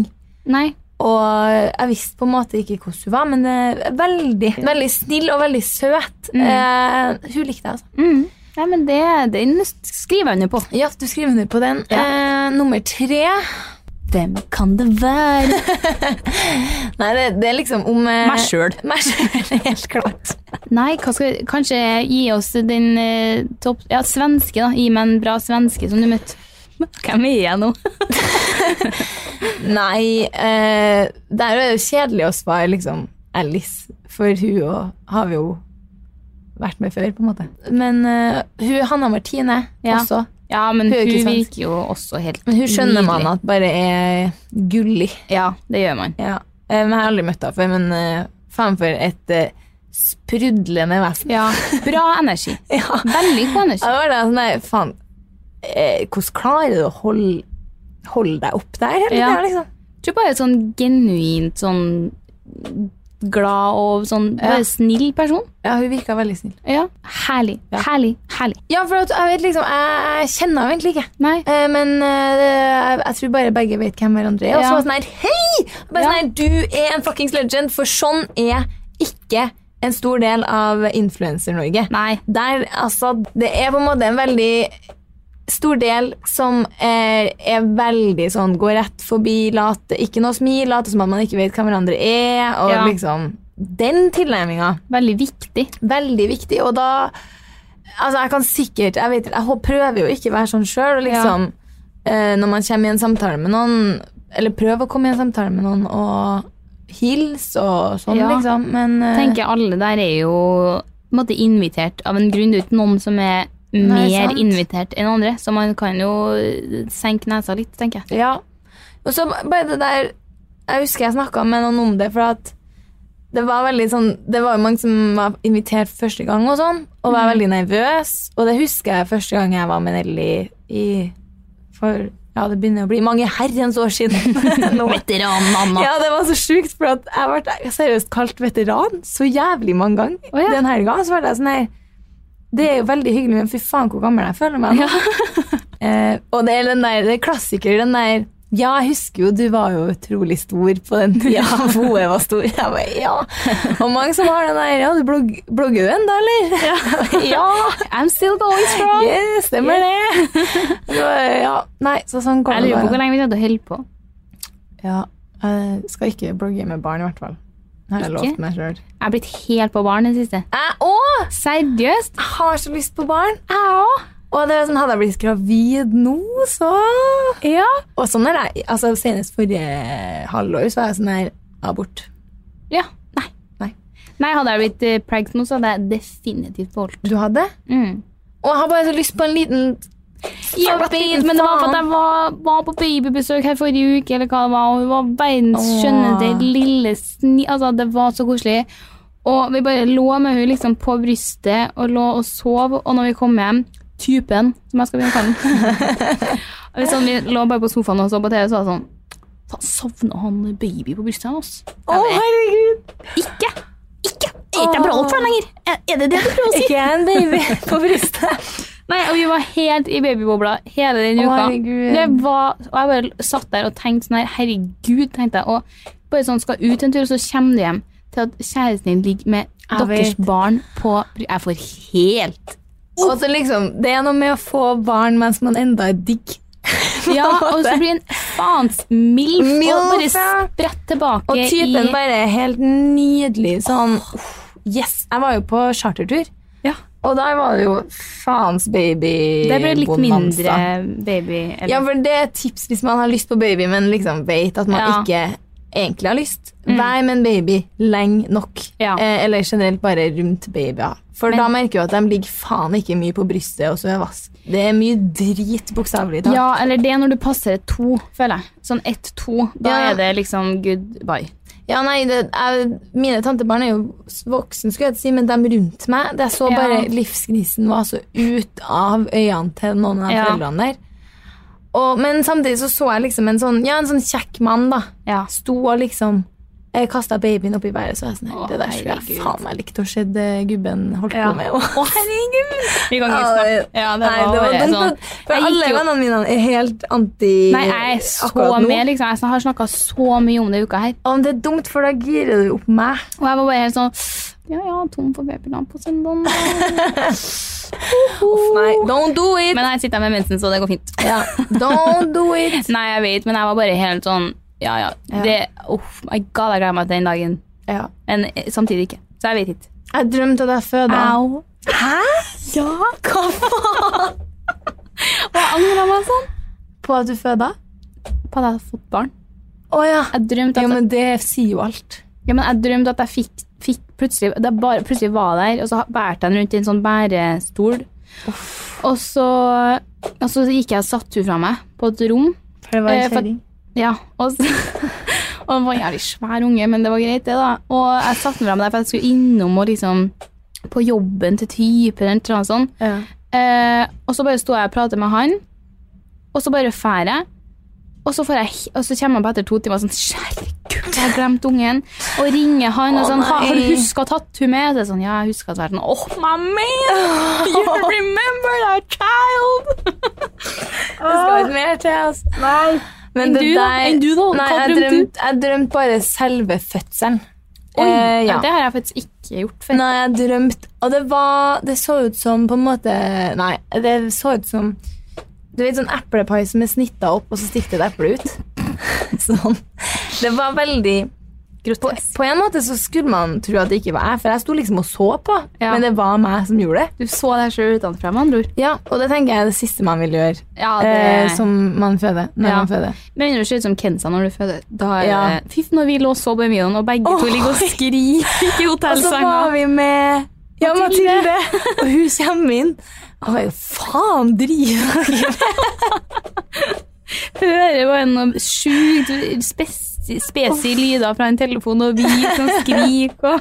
Speaker 4: Nei,
Speaker 3: Og jeg visste på en måte ikke hvordan hun var, men eh, veldig veldig snill og veldig søt. Eh, hun likte jeg, altså.
Speaker 4: mm. Nei, men det, den skriver jeg under på.
Speaker 3: Ja, du skriver under på den. Eh, nummer tre
Speaker 4: Hvem kan det være?
Speaker 3: Nei, det, det er liksom om eh,
Speaker 4: Meg sjøl.
Speaker 3: Meg sjøl, helt klart.
Speaker 4: Nei, hva skal, kanskje gi oss den eh, topp... Ja, svenske, da. Gi meg en bra svenske som du møtte. Hvem er jeg nå?
Speaker 3: Nei, eh, der er det jo kjedelig å svare liksom Alice, for hun og har vi jo vært med før, på en måte. Men eh, hun Hanna Martine
Speaker 4: Ja.
Speaker 3: også.
Speaker 4: Ja, men
Speaker 3: Hun er
Speaker 4: hun,
Speaker 3: ikke svensk.
Speaker 4: virker jo også helt
Speaker 3: Men hun skjønner
Speaker 4: nydelig.
Speaker 3: man at bare er gullig.
Speaker 4: Ja, det gjør man.
Speaker 3: Ja. Eh, men Jeg har aldri møtt henne før, men eh, faen for et eh, sprudlende vesen.
Speaker 4: Ja, Bra energi.
Speaker 3: Ja.
Speaker 4: Veldig god energi.
Speaker 3: Det var det, sånn der, faen, eh, hvordan klarer du å holde, holde deg opp der? hele
Speaker 4: Ja.
Speaker 3: tiden, liksom?
Speaker 4: Jeg tror bare sånn genuint sånn glad og sånn
Speaker 3: Ja.
Speaker 4: bare snill person.
Speaker 3: ja, hun virka veldig snill.
Speaker 4: Ja. Herlig. Herlig. Herlig.
Speaker 3: Ja, for at, jeg vet liksom, jeg, jeg kjenner henne egentlig ikke.
Speaker 4: Nei.
Speaker 3: Eh, men eh, det, jeg, jeg tror bare begge vet hvem hverandre er. Og så
Speaker 4: Ja.
Speaker 3: var det sånn her, hei! Og Bare
Speaker 4: Ja.
Speaker 3: sånn her, du er en fuckings legend, for sånn er ikke en stor del av Influencer-Norge.
Speaker 4: Nei.
Speaker 3: der, altså, det er på en måte en veldig stor del som er, er veldig sånn går rett forbi, late, ikke noe smil, late som at man ikke vet hva hverandre er, og
Speaker 4: Ja.
Speaker 3: liksom den tilnærminga.
Speaker 4: Veldig viktig.
Speaker 3: Veldig viktig, og da Altså, jeg kan sikkert Jeg, vet, jeg hå- prøver jo ikke å være sånn sjøl, og liksom eh, Når man kommer i en samtale med noen, eller prøver å komme i en samtale med noen og hilse og sånn,
Speaker 4: Ja.
Speaker 3: liksom, men eh,
Speaker 4: Tenker jeg alle der er jo på en måte invitert av en grunn. Det er ikke noen som er
Speaker 3: Nei,
Speaker 4: mer
Speaker 3: sant.
Speaker 4: invitert enn andre, så man kan jo senke nesa litt, tenker jeg.
Speaker 3: Ja. Og så bare det der Jeg husker jeg snakka med noen om det, for at det var veldig sånn Det var jo mange som var invitert første gang og sånn, og var veldig nervøs. Og det husker jeg første gang jeg var med Nelly i For ja, det begynner å bli mange herrens år siden. Nå.
Speaker 4: Veteran Anna.
Speaker 3: Ja, det var så sjukt, for at jeg ble seriøst kalt veteran så jævlig mange ganger.
Speaker 4: Å, ja.
Speaker 3: Den helga så var det sånn her Det er jo veldig hyggelig, men fy faen hvor gammel jeg føler meg nå. Eh, og det er den der, det er klassiker, den der Ja, jeg husker jo du var jo utrolig stor på den tida. Voe var stor. Jeg bare, ja. Og mange som har den der Ja, du blogg, blogger jo ennå, eller? ja.
Speaker 4: I'm still going strong.
Speaker 3: Yes, stemmer det. Så, ja. Nei, så sånn kommer
Speaker 4: Jeg
Speaker 3: det
Speaker 4: lurer på hvor
Speaker 3: bare.
Speaker 4: lenge vi kommer til å holde på.
Speaker 3: Ja, jeg skal ikke blogge med barn, i hvert fall. Har jeg
Speaker 4: Ikke?
Speaker 3: lovt meg sjøl.
Speaker 4: Jeg har blitt helt på barn den siste.
Speaker 3: Jeg òg!
Speaker 4: Seriøst?
Speaker 3: Jeg har så lyst på barn.
Speaker 4: Jeg òg.
Speaker 3: Og det er sånn, hadde jeg blitt gravid nå, så
Speaker 4: Ja.
Speaker 3: Og sånn er jeg. Altså, senest forrige halvår så var jeg sånn her abort.
Speaker 4: ja. Nei.
Speaker 3: Nei.
Speaker 4: Nei, hadde jeg blitt eh, preg nå, så hadde jeg definitivt beholdt.
Speaker 3: Du hadde?
Speaker 4: Mm.
Speaker 3: Og jeg har bare så lyst på en liten
Speaker 4: Jeg
Speaker 3: Fuck,
Speaker 4: vet, men det var for at jeg var, var på babybesøk her forrige uke, eller hva det var, og hun var verdens skjønneste lille sni... Altså, det var så koselig. Og vi bare lå med henne liksom på brystet og lå og sov. Og når vi kom hjem Typen, som jeg skal begynne å kalle den. Og vi sånn, vi lå bare på sofaen og så på TV, så var det sånn Faen, sovna han baby på brystet hans?
Speaker 3: Å, herregud!
Speaker 4: Ikke! Ikke! Er ikke jeg bra nok for han lenger? Er, er det det du prøver å si?
Speaker 3: Ikke en baby på brystet.
Speaker 4: Nei, og vi var helt i babybobla hele den
Speaker 3: Å,
Speaker 4: uka.
Speaker 3: herregud.
Speaker 4: det var, og jeg bare satt der og tenkte sånn her, herregud, tenkte jeg. Og bare sånn, skal ut en tur, og så kommer du hjem til at kjæresten din ligger med
Speaker 3: Jeg
Speaker 4: deres
Speaker 3: vet.
Speaker 4: barn på bry- Jeg får helt
Speaker 3: Og så liksom, Det er noe med å få barn mens man enda er digg.
Speaker 4: Ja, og så blir en faens milf, og bare
Speaker 3: Milf, ja.
Speaker 4: spredt tilbake
Speaker 3: Og typen
Speaker 4: i
Speaker 3: bare er helt nydelig. Sånn uff, Yes! Jeg var jo på chartertur,
Speaker 4: Ja.
Speaker 3: og der var det jo faens baby
Speaker 4: Det ble litt
Speaker 3: bonanza.
Speaker 4: mindre baby. eller-
Speaker 3: Ja, for det er et tips hvis man har lyst på baby, men liksom vet at man
Speaker 4: Ja. Mm.
Speaker 3: ikke egentlig har lyst. Vær med en baby lenge nok,
Speaker 4: Ja.
Speaker 3: eh, eller generelt bare rundt babyer. For
Speaker 4: Men-
Speaker 3: da merker du at de ligger faen ikke mye på brystet og så er vask. Det er mye drit, bokstavelig talt.
Speaker 4: Ja, eller det er når du passer et to, føler jeg. Sånn ett-to. Da
Speaker 3: Ja.
Speaker 4: er det liksom goodbye.
Speaker 3: Ja, nei, det, jeg, mine tantebarn er jo s- voksen, skulle jeg si, men de rundt meg Det jeg så
Speaker 4: Ja.
Speaker 3: bare livsgnisten var så ut av øynene til noen av de
Speaker 4: Ja.
Speaker 3: foreldrene der. Og, men samtidig så så jeg liksom en sånn, ja, en sånn kjekk mann, da.
Speaker 4: Ja.
Speaker 3: Sto og liksom eh, kasta babyen oppi været, så var jeg sånn
Speaker 4: Å,
Speaker 3: her, Det der skulle jeg
Speaker 4: herregud.
Speaker 3: faen meg likt å se det gubben holdt
Speaker 4: Ja.
Speaker 3: på med. Å, herregud!
Speaker 4: Vi kan ikke
Speaker 3: Ja,
Speaker 4: snakke. Ja, det
Speaker 3: nei, det
Speaker 4: var
Speaker 3: var
Speaker 4: bare
Speaker 3: dumt.
Speaker 4: sånn.
Speaker 3: at- For
Speaker 4: Jeg gikk
Speaker 3: alle
Speaker 4: jo-
Speaker 3: vennene mine er helt anti
Speaker 4: Nei, jeg er så
Speaker 3: akkurat nå.
Speaker 4: med, liksom. Jeg har snakka så mye om det i uka her.
Speaker 3: Å, men det er dumt, for da girer du opp meg.
Speaker 4: Og jeg var bare helt sånn Ja, ja, tom for babyland på søndag.
Speaker 3: Uff, nei. Don't do it!
Speaker 4: Men jeg sitter her med mensen, så det går fint.
Speaker 3: Ja. Don't do it!
Speaker 4: Nei, jeg vet, men jeg var bare helt sånn Ja, ja. Det, uff, my god, jeg gleder meg til den dagen.
Speaker 3: Ja.
Speaker 4: Men eh, samtidig ikke. Så jeg vet ikke.
Speaker 3: Jeg drømte at jeg føda.
Speaker 4: Au.
Speaker 3: Hæ? Ja, hva faen?
Speaker 4: Og jeg angrer meg sånn
Speaker 3: På at du føda?
Speaker 4: på at jeg hadde fått barn.
Speaker 3: Å ja.
Speaker 4: Jeg drømte at
Speaker 3: Jo, men det sier jo alt.
Speaker 4: Ja, men jeg drømte at jeg fikk, fikk plutselig, det bare, plutselig var der, og så bærte jeg den rundt i en sånn bærestol. Og så, og så gikk jeg og satt hun fra meg på et rom.
Speaker 3: Eh, For det
Speaker 4: en kjerring. Ja, og, så, og det var en jævlig svær unge, men det var greit det da. Og jeg satt den fra meg der, for jeg skulle innom og liksom på jobben til typen eller noe sånt.
Speaker 3: Ja.
Speaker 4: Eh, og så bare står jeg og prater med han, og så bare fær jeg. Og så, får jeg, og så kommer han på etter to timer sånn Herregud, jeg har glemt ungen. Og ringer han og
Speaker 3: Å,
Speaker 4: sånn Har har du
Speaker 3: nei.
Speaker 4: huska å tatt hun med? Så jeg sånn, ja, jeg husker at verden Åh, my man! You remember that child!
Speaker 3: Det skal ikke mer til, altså. Nei. Men
Speaker 4: Ah. Enn
Speaker 3: det
Speaker 4: du da?
Speaker 3: der-
Speaker 4: Enn du da?
Speaker 3: Nei,
Speaker 4: Hva
Speaker 3: jeg
Speaker 4: drømte du?
Speaker 3: drømte, jeg drømte bare selve fødselen.
Speaker 4: Oi,
Speaker 3: Eh,
Speaker 4: ja.
Speaker 3: ja.
Speaker 4: Det har jeg faktisk ikke gjort før.
Speaker 3: Nei, jeg drømte Og det var Det så ut som på en måte Nei, det så ut som Du vet sånn eplepai som er snitta opp, og så stikker det et eple ut. sånn. Det var veldig på, på en måte så skulle man tro at det ikke var jeg, for jeg sto liksom og så på.
Speaker 4: Ja.
Speaker 3: Men det var meg som gjorde det.
Speaker 4: Du så deg sjøl utenfra, med andre ord.
Speaker 3: Ja, Og det tenker jeg er det siste man vil gjøre
Speaker 4: Ja,
Speaker 3: eh,
Speaker 4: det,
Speaker 3: som man føder. Når
Speaker 4: Ja.
Speaker 3: man føder.
Speaker 4: men når du ser ut som Kenza når du føder da er
Speaker 3: Ja.
Speaker 4: det- Fy, når vi lå og så på Emilen, og begge to
Speaker 3: Oi.
Speaker 4: ligger og skriker i
Speaker 3: Og så
Speaker 4: hotellsenga.
Speaker 3: var vi med ja,
Speaker 4: Mathilde.
Speaker 3: Mathilde. og hun kommer inn. Og jeg bare Faen, driver dere
Speaker 4: hører bare noen sjukt spesi, spesi lyder fra en telefon, og vi som skriker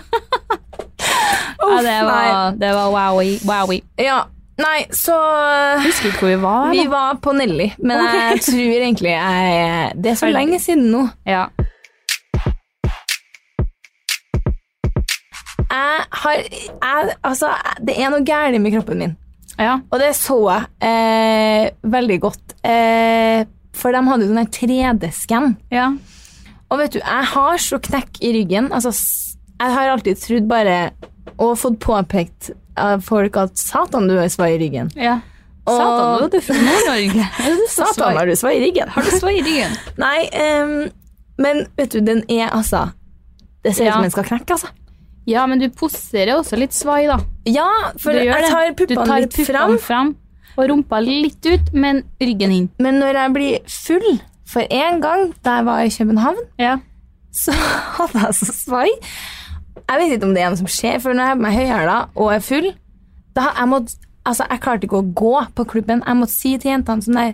Speaker 4: og ja, det, var, det var wowie. wowie.
Speaker 3: Ja, nei, så
Speaker 4: Husker ikke hvor vi var.
Speaker 3: Vi
Speaker 4: eller?
Speaker 3: var på Nelly, men jeg tror egentlig jeg Det er så lenge siden nå.
Speaker 4: Ja.
Speaker 3: Jeg har jeg, Altså, jeg- det er noe gærent med kroppen min,
Speaker 4: ja.
Speaker 3: og det så jeg eh, veldig godt. Eh, for de hadde jo sånn her 3D-skann.
Speaker 4: ja.
Speaker 3: Og vet du, jeg har så knekk i ryggen. Altså, s- jeg har alltid trodd bare Og fått påpekt av folk at satan, du er svai i ryggen.
Speaker 4: ja.
Speaker 3: Og-
Speaker 4: Satan, nå er du fra Nord-Norge. Er du så
Speaker 3: Satan,
Speaker 4: svak?
Speaker 3: har du svai i ryggen?
Speaker 4: Har du svai i ryggen?
Speaker 3: Nei, ehm, men vet du, den er altså Det ser ut
Speaker 4: Ja.
Speaker 3: som den skal knekke, altså.
Speaker 4: Ja, men du poserer også litt svai, da.
Speaker 3: Ja, for
Speaker 4: Du gjør
Speaker 3: jeg
Speaker 4: det.
Speaker 3: tar
Speaker 4: Du
Speaker 3: puppene
Speaker 4: tar
Speaker 3: litt fram.
Speaker 4: fram. Og rumpa litt ut, men ryggen inn.
Speaker 3: Men når jeg blir full For en gang da jeg var i København,
Speaker 4: Ja.
Speaker 3: så hadde jeg så svai. Jeg vet ikke om det er noe som skjer, for når jeg har på meg høyhæla og er full da har jeg, mått, altså, jeg klarte ikke å gå på klubben. Jeg måtte si til jentene sånn der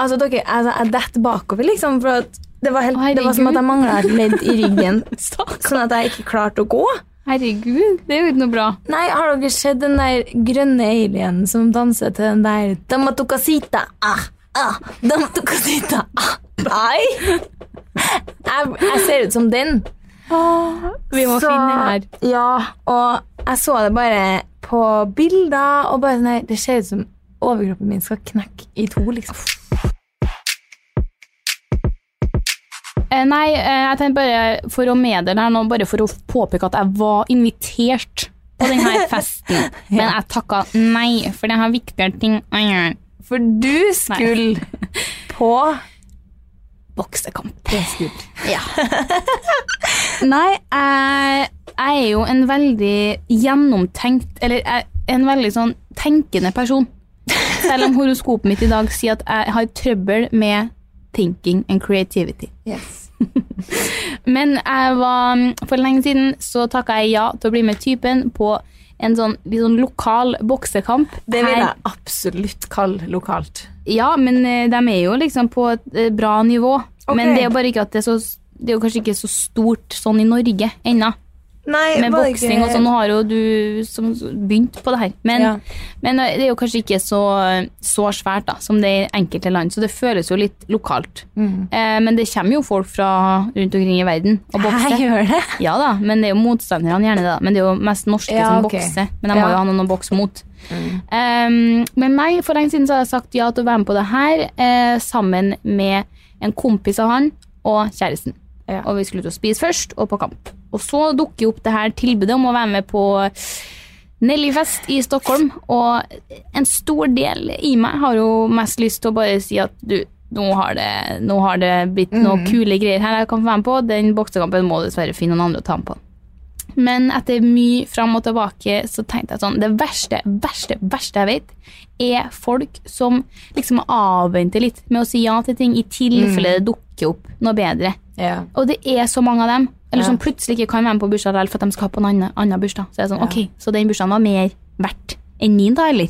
Speaker 3: Altså, dere, altså, jeg detter bakover, liksom. For at det, var helt,
Speaker 4: Å,
Speaker 3: det var som at
Speaker 4: herregud.
Speaker 3: jeg mangla et ledd i ryggen, sånn at jeg ikke klarte å gå.
Speaker 4: Herregud, det er jo ikke noe bra.
Speaker 3: Nei, har dere sett den der grønne alienen som danser til den der Damatukasita? Ah, ah, Damatukasita. Ah, ai! Jeg, jeg ser ut som den.
Speaker 4: Vi må
Speaker 3: Så-
Speaker 4: finne her.
Speaker 3: Ja, og jeg så det bare på bilder, og bare sånn her Det ser ut som overkroppen min skal knekke i to, liksom.
Speaker 4: Eh, nei, eh, jeg tenkte bare for å meddele her nå, bare for å påpeke at jeg var invitert på denne festen. Men jeg takka nei, for jeg har viktigere ting å gjøre.
Speaker 3: For du skulle på
Speaker 4: Boksekamp. Nei, jeg, jeg er jo en veldig gjennomtenkt Eller jeg, er en veldig sånn tenkende person. Selv om horoskopet mitt i dag sier at jeg har trøbbel med thinking and creativity. Men jeg var, for lenge siden så takka jeg ja til å bli med typen på en sånn, litt sånn lokal boksekamp.
Speaker 3: Det vil
Speaker 4: her
Speaker 3: jeg absolutt kalle lokalt.
Speaker 4: ja, men eh, de er jo liksom på et eh, bra nivå.
Speaker 3: Ok.
Speaker 4: Men det er jo bare ikke at det er så det er jo kanskje ikke så stort sånn i Norge ennå,
Speaker 3: Nei,
Speaker 4: med
Speaker 3: Eh, var det
Speaker 4: boksing
Speaker 3: ikke-
Speaker 4: og sånn. Nå har jo du som begynt på det her. Men,
Speaker 3: Ja.
Speaker 4: men eh, det er jo kanskje ikke så, så svært da, som det er i enkelte land, så det føles jo litt lokalt.
Speaker 3: Mhm.
Speaker 4: Eh, men det kommer jo folk fra rundt omkring i verden og
Speaker 3: Jeg
Speaker 4: bokser.
Speaker 3: gjør det.
Speaker 4: Ja da, men det er jo motstanderne gjerne det, da. Men det er jo mest norske
Speaker 3: Ja,
Speaker 4: som
Speaker 3: ok.
Speaker 4: bokser. Men de må
Speaker 3: Ja. Mm.
Speaker 4: jo ha noen å bokse mot. Um, men meg, for lenge siden så har jeg sagt ja til å være med på det her, eh, sammen med en kompis av han og kjæresten.
Speaker 3: Ja.
Speaker 4: Og vi skulle ut og spise først, og på kamp. Og så dukker jo opp det her tilbudet om å være med på Nellyfest i Stockholm, og en stor del i meg har jo mest lyst til å bare si at du, nå har det, nå har det blitt
Speaker 3: Mm.
Speaker 4: noen kule greier her jeg kan få være med på. Den boksekampen må dessverre finne noen andre å ta med på. Men etter mye fram og tilbake så tenkte jeg sånn Det verste, verste, verste jeg vet, er folk som liksom avventer litt med å si ja til ting i
Speaker 3: Mm.
Speaker 4: tilfelle det dukker opp noe bedre.
Speaker 3: Ja.
Speaker 4: Og det er så mange av dem. Eller
Speaker 3: Ja.
Speaker 4: som plutselig ikke kan være med på bursdag likevel, for at de skal ha på en annen, annen bursdag. Så jeg er sånn, ok, så den bursdagen var mer verdt enn min, da, eller?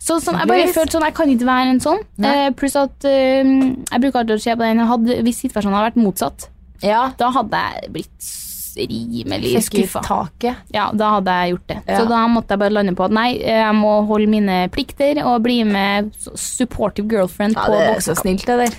Speaker 4: Så sånn, Jeg bare
Speaker 3: Yes.
Speaker 4: følte sånn, jeg kan ikke være en sånn. Eh, pluss at eh, jeg bruker alltid å se på den. Hadde, hvis situasjonen hadde vært motsatt,
Speaker 3: Ja.
Speaker 4: da hadde jeg blitt s- rimelig
Speaker 3: Fikk i
Speaker 4: skuffa.
Speaker 3: taket.
Speaker 4: Ja, da hadde jeg gjort det.
Speaker 3: Ja.
Speaker 4: Så da måtte jeg bare lande på at nei, jeg må holde mine plikter og bli med s- supportive girlfriend på boksekamp.
Speaker 3: snilt av deg.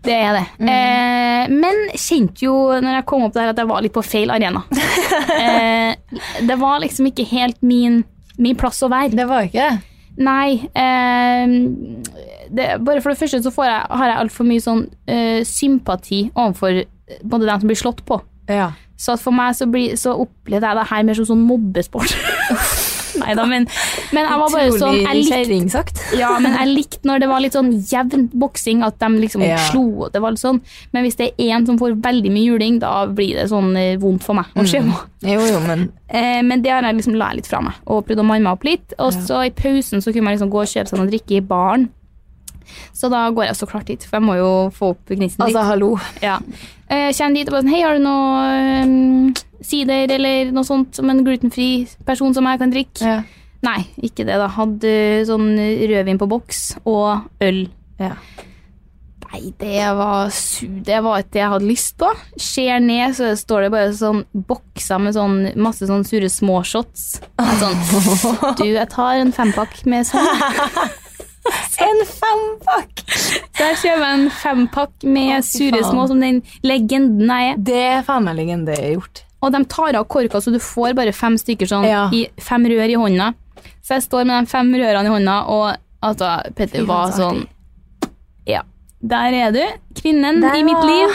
Speaker 4: Det er det.
Speaker 3: Mm.
Speaker 4: Eh, men kjente jo når jeg kom opp der at jeg var litt på feil arena. eh, det var liksom ikke helt min, min plass å være.
Speaker 3: Det var ikke det.
Speaker 4: Nei. Eh, det, bare for det første så får jeg, har jeg altfor mye sånn eh, sympati overfor eh, både dem som blir slått på.
Speaker 3: Ja.
Speaker 4: Så at for meg så, blir, så opplevde jeg det her mer som sånn mobbesport. Nei da, men, men jeg var bare sånn Jeg likte
Speaker 3: kjerringsagt.
Speaker 4: ja, men jeg likte når det var litt sånn jevn boksing, at de liksom
Speaker 3: Ja.
Speaker 4: slo. og Det var litt sånn. Men hvis det er én som får veldig mye juling, da blir det sånn eh, vondt for meg å se
Speaker 3: Mm.
Speaker 4: på.
Speaker 3: Jo, jo, men
Speaker 4: Eh, men det har jeg liksom la litt fra meg, og prøvd å manne meg opp litt. Og så i pausen så kunne man liksom gå og kjøpe seg noe å drikke i baren. Så da går jeg så klart dit, for jeg må jo få opp gnisten litt.
Speaker 3: Altså, hallo.
Speaker 4: Ja. Eh, Kjenn dit og bare sånn Hei, har du noe ehm, sider eller noe sånt som en glutenfri person som jeg kan drikke?
Speaker 3: Ja.
Speaker 4: Nei, ikke det, da. Hadde sånn rødvin på boks og øl.
Speaker 3: Ja.
Speaker 4: Nei, det var su- Det var ikke det jeg hadde lyst på. Ser ned, så står det bare sånn bokser med sånn masse sånn sure småshots. Sånn Du, jeg tar en fempakk med sånn.
Speaker 3: En fempakk!
Speaker 4: Der kjøper jeg en fempakk med sure
Speaker 3: faen.
Speaker 4: små, som den legenden jeg er.
Speaker 3: Det er faen meg legende gjort.
Speaker 4: Og de tar av korka, så du får bare fem stykker sånn,
Speaker 3: Ja.
Speaker 4: i fem rør i hånda. Så jeg står med de fem rørene i hånda, og altså, Petter var
Speaker 3: så
Speaker 4: sånn Ja, der er du. Kvinnen
Speaker 3: Der
Speaker 4: i mitt
Speaker 3: var-
Speaker 4: liv.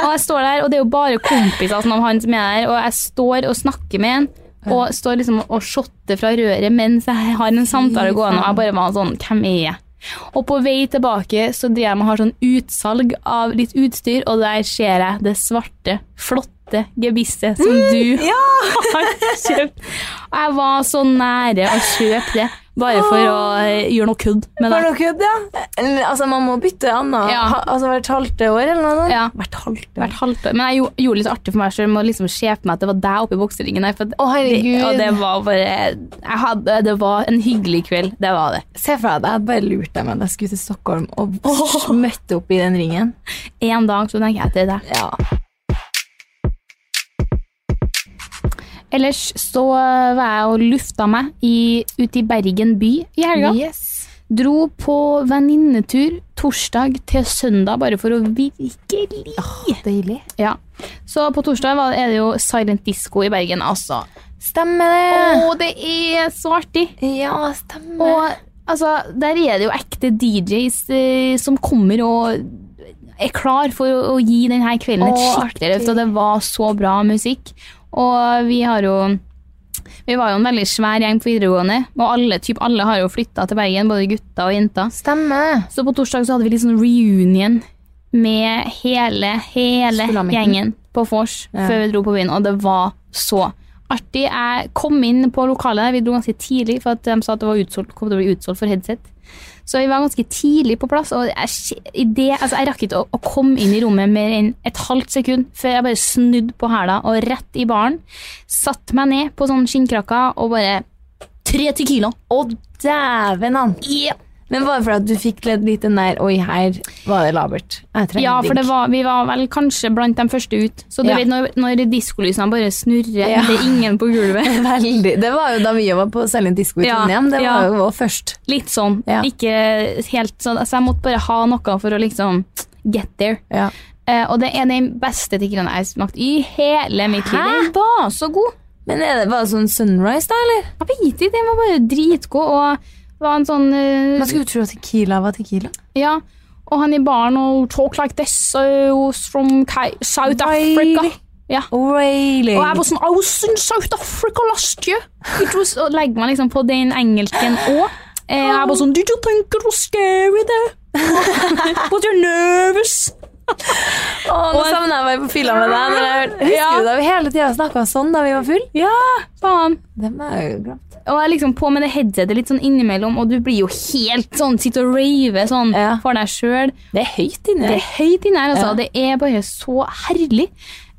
Speaker 4: Og jeg står der, og det er jo bare kompiser som av han som er der, og jeg står og snakker med han. Og står liksom og shotter fra røret mens jeg har en samtale gående. Og jeg bare var sånn, hvem er jeg? Og på vei tilbake så driver jeg med å ha sånn utsalg av litt utstyr, og der ser jeg det svarte, flotte gebisset som du har kjøpt. Og jeg var så nære å kjøpe det, bare for å eh, gjøre noe kødd med
Speaker 3: Var
Speaker 4: det.
Speaker 3: det kødd, ja? Eller, Altså, man må bytte annet.
Speaker 4: Ja.
Speaker 3: Ha, altså, hvert halvte år, eller noe sånt.
Speaker 4: Ja.
Speaker 3: Hvert halvte år.
Speaker 4: Hvert halvt år. Men jeg gjo- gjorde det litt artig for meg selv med å liksom se for meg at det var deg oppe i bokseringen. der, for at-
Speaker 3: Å, herregud.
Speaker 4: Det, og det var bare jeg hadde, Det var en hyggelig kveld. Det var det.
Speaker 3: Se for deg at jeg hadde bare lurt deg med at jeg skulle til Stockholm og møtte opp i den ringen.
Speaker 4: En dag så tenkte jeg til deg.
Speaker 3: Ja.
Speaker 4: Ellers så var jeg og lufta meg i, ute i Bergen by i helga.
Speaker 3: Yes.
Speaker 4: Dro på venninnetur torsdag til søndag, bare for å virkelig
Speaker 3: Deilig.
Speaker 4: Ja. Så på torsdag var, er det jo silent disco i Bergen, altså.
Speaker 3: Stemmer
Speaker 4: Å,
Speaker 3: det.
Speaker 4: det er så artig!
Speaker 3: Ja, stemmer.
Speaker 4: Og altså, der er det jo ekte DJs eh, som kommer og er klar for å, å gi denne kvelden et
Speaker 3: Å,
Speaker 4: skikkelig løft,
Speaker 3: artig.
Speaker 4: og det var så bra musikk. Og vi har jo Vi var jo en veldig svær gjeng på videregående, og alle, typ, alle har jo flytta til Bergen, både gutter og jenter.
Speaker 3: stemmer.
Speaker 4: Så på torsdag så hadde vi litt sånn reunion med hele, hele
Speaker 3: Skulle ha midten.
Speaker 4: gjengen på vors
Speaker 3: Ja.
Speaker 4: før vi dro på byen, og det var så artig. Jeg kom inn på lokalet, vi dro ganske tidlig, for at de sa at det var utsolgt, kom til å bli utsolgt for headset. Så vi var ganske tidlig på plass, og jeg, skj- i det, altså jeg rakk ikke å, å komme inn i rommet mer enn et halvt sekund før jeg bare snudde på hæla og rett i baren. Satt meg ned på sånn skinnkrakker og bare Tre tequila!
Speaker 3: Å, dæven an.
Speaker 4: Yeah.
Speaker 3: Men var det fordi at du fikk litt, litt den der Oi, her var det labert. Jeg trenger
Speaker 4: Ja, for det
Speaker 3: drink.
Speaker 4: var, vi var vel kanskje blant de første ut. Så du
Speaker 3: Ja.
Speaker 4: vet når, når diskolysene bare snurrer,
Speaker 3: Ja.
Speaker 4: det er ingen på gulvet.
Speaker 3: Veldig. Det var jo da vi var på Selin Disco i
Speaker 4: Ja,
Speaker 3: Trondheim. Det
Speaker 4: ja.
Speaker 3: var jo vår først.
Speaker 4: Litt sånn.
Speaker 3: Ja.
Speaker 4: Ikke helt sånn. Altså, jeg måtte bare ha noe for å liksom get there.
Speaker 3: Ja.
Speaker 4: Eh, og det er den beste tequilaen jeg har smakt i hele mitt liv.
Speaker 3: Hæ?
Speaker 4: Den var så god!
Speaker 3: Men er det, var det sånn sunrise, da, eller?
Speaker 4: Jeg vet ikke, den var bare dritgod. Og var en sånn eh,
Speaker 3: Man skulle jo tro at Tequila var Tequila.
Speaker 4: Ja. Og han i baren og talk like this eh, was from Ki South Africa.
Speaker 3: Really?
Speaker 4: Ja.
Speaker 3: Really?
Speaker 4: Og jeg var sånn I was in South Africa last year. It was, og legger meg liksom på den engelsken òg. Eh, jeg var sånn Did you think it was scary there? Was you nervous?
Speaker 3: Å, nå
Speaker 4: Og-
Speaker 3: savner jeg meg på fylla med deg. Når jeg, hørte- husker
Speaker 4: Ja.
Speaker 3: du da vi hele tida snakka sånn da vi var full?
Speaker 4: Ja, faen.
Speaker 3: Det må jeg jo glemt.
Speaker 4: Og jeg er liksom på med det headsetet litt sånn innimellom, og du blir jo helt sånn Sitter og raver sånn
Speaker 3: Ja.
Speaker 4: for deg sjøl.
Speaker 3: Det er høyt inni
Speaker 4: Det er høyt inne her, altså.
Speaker 3: Ja.
Speaker 4: Det er bare så herlig.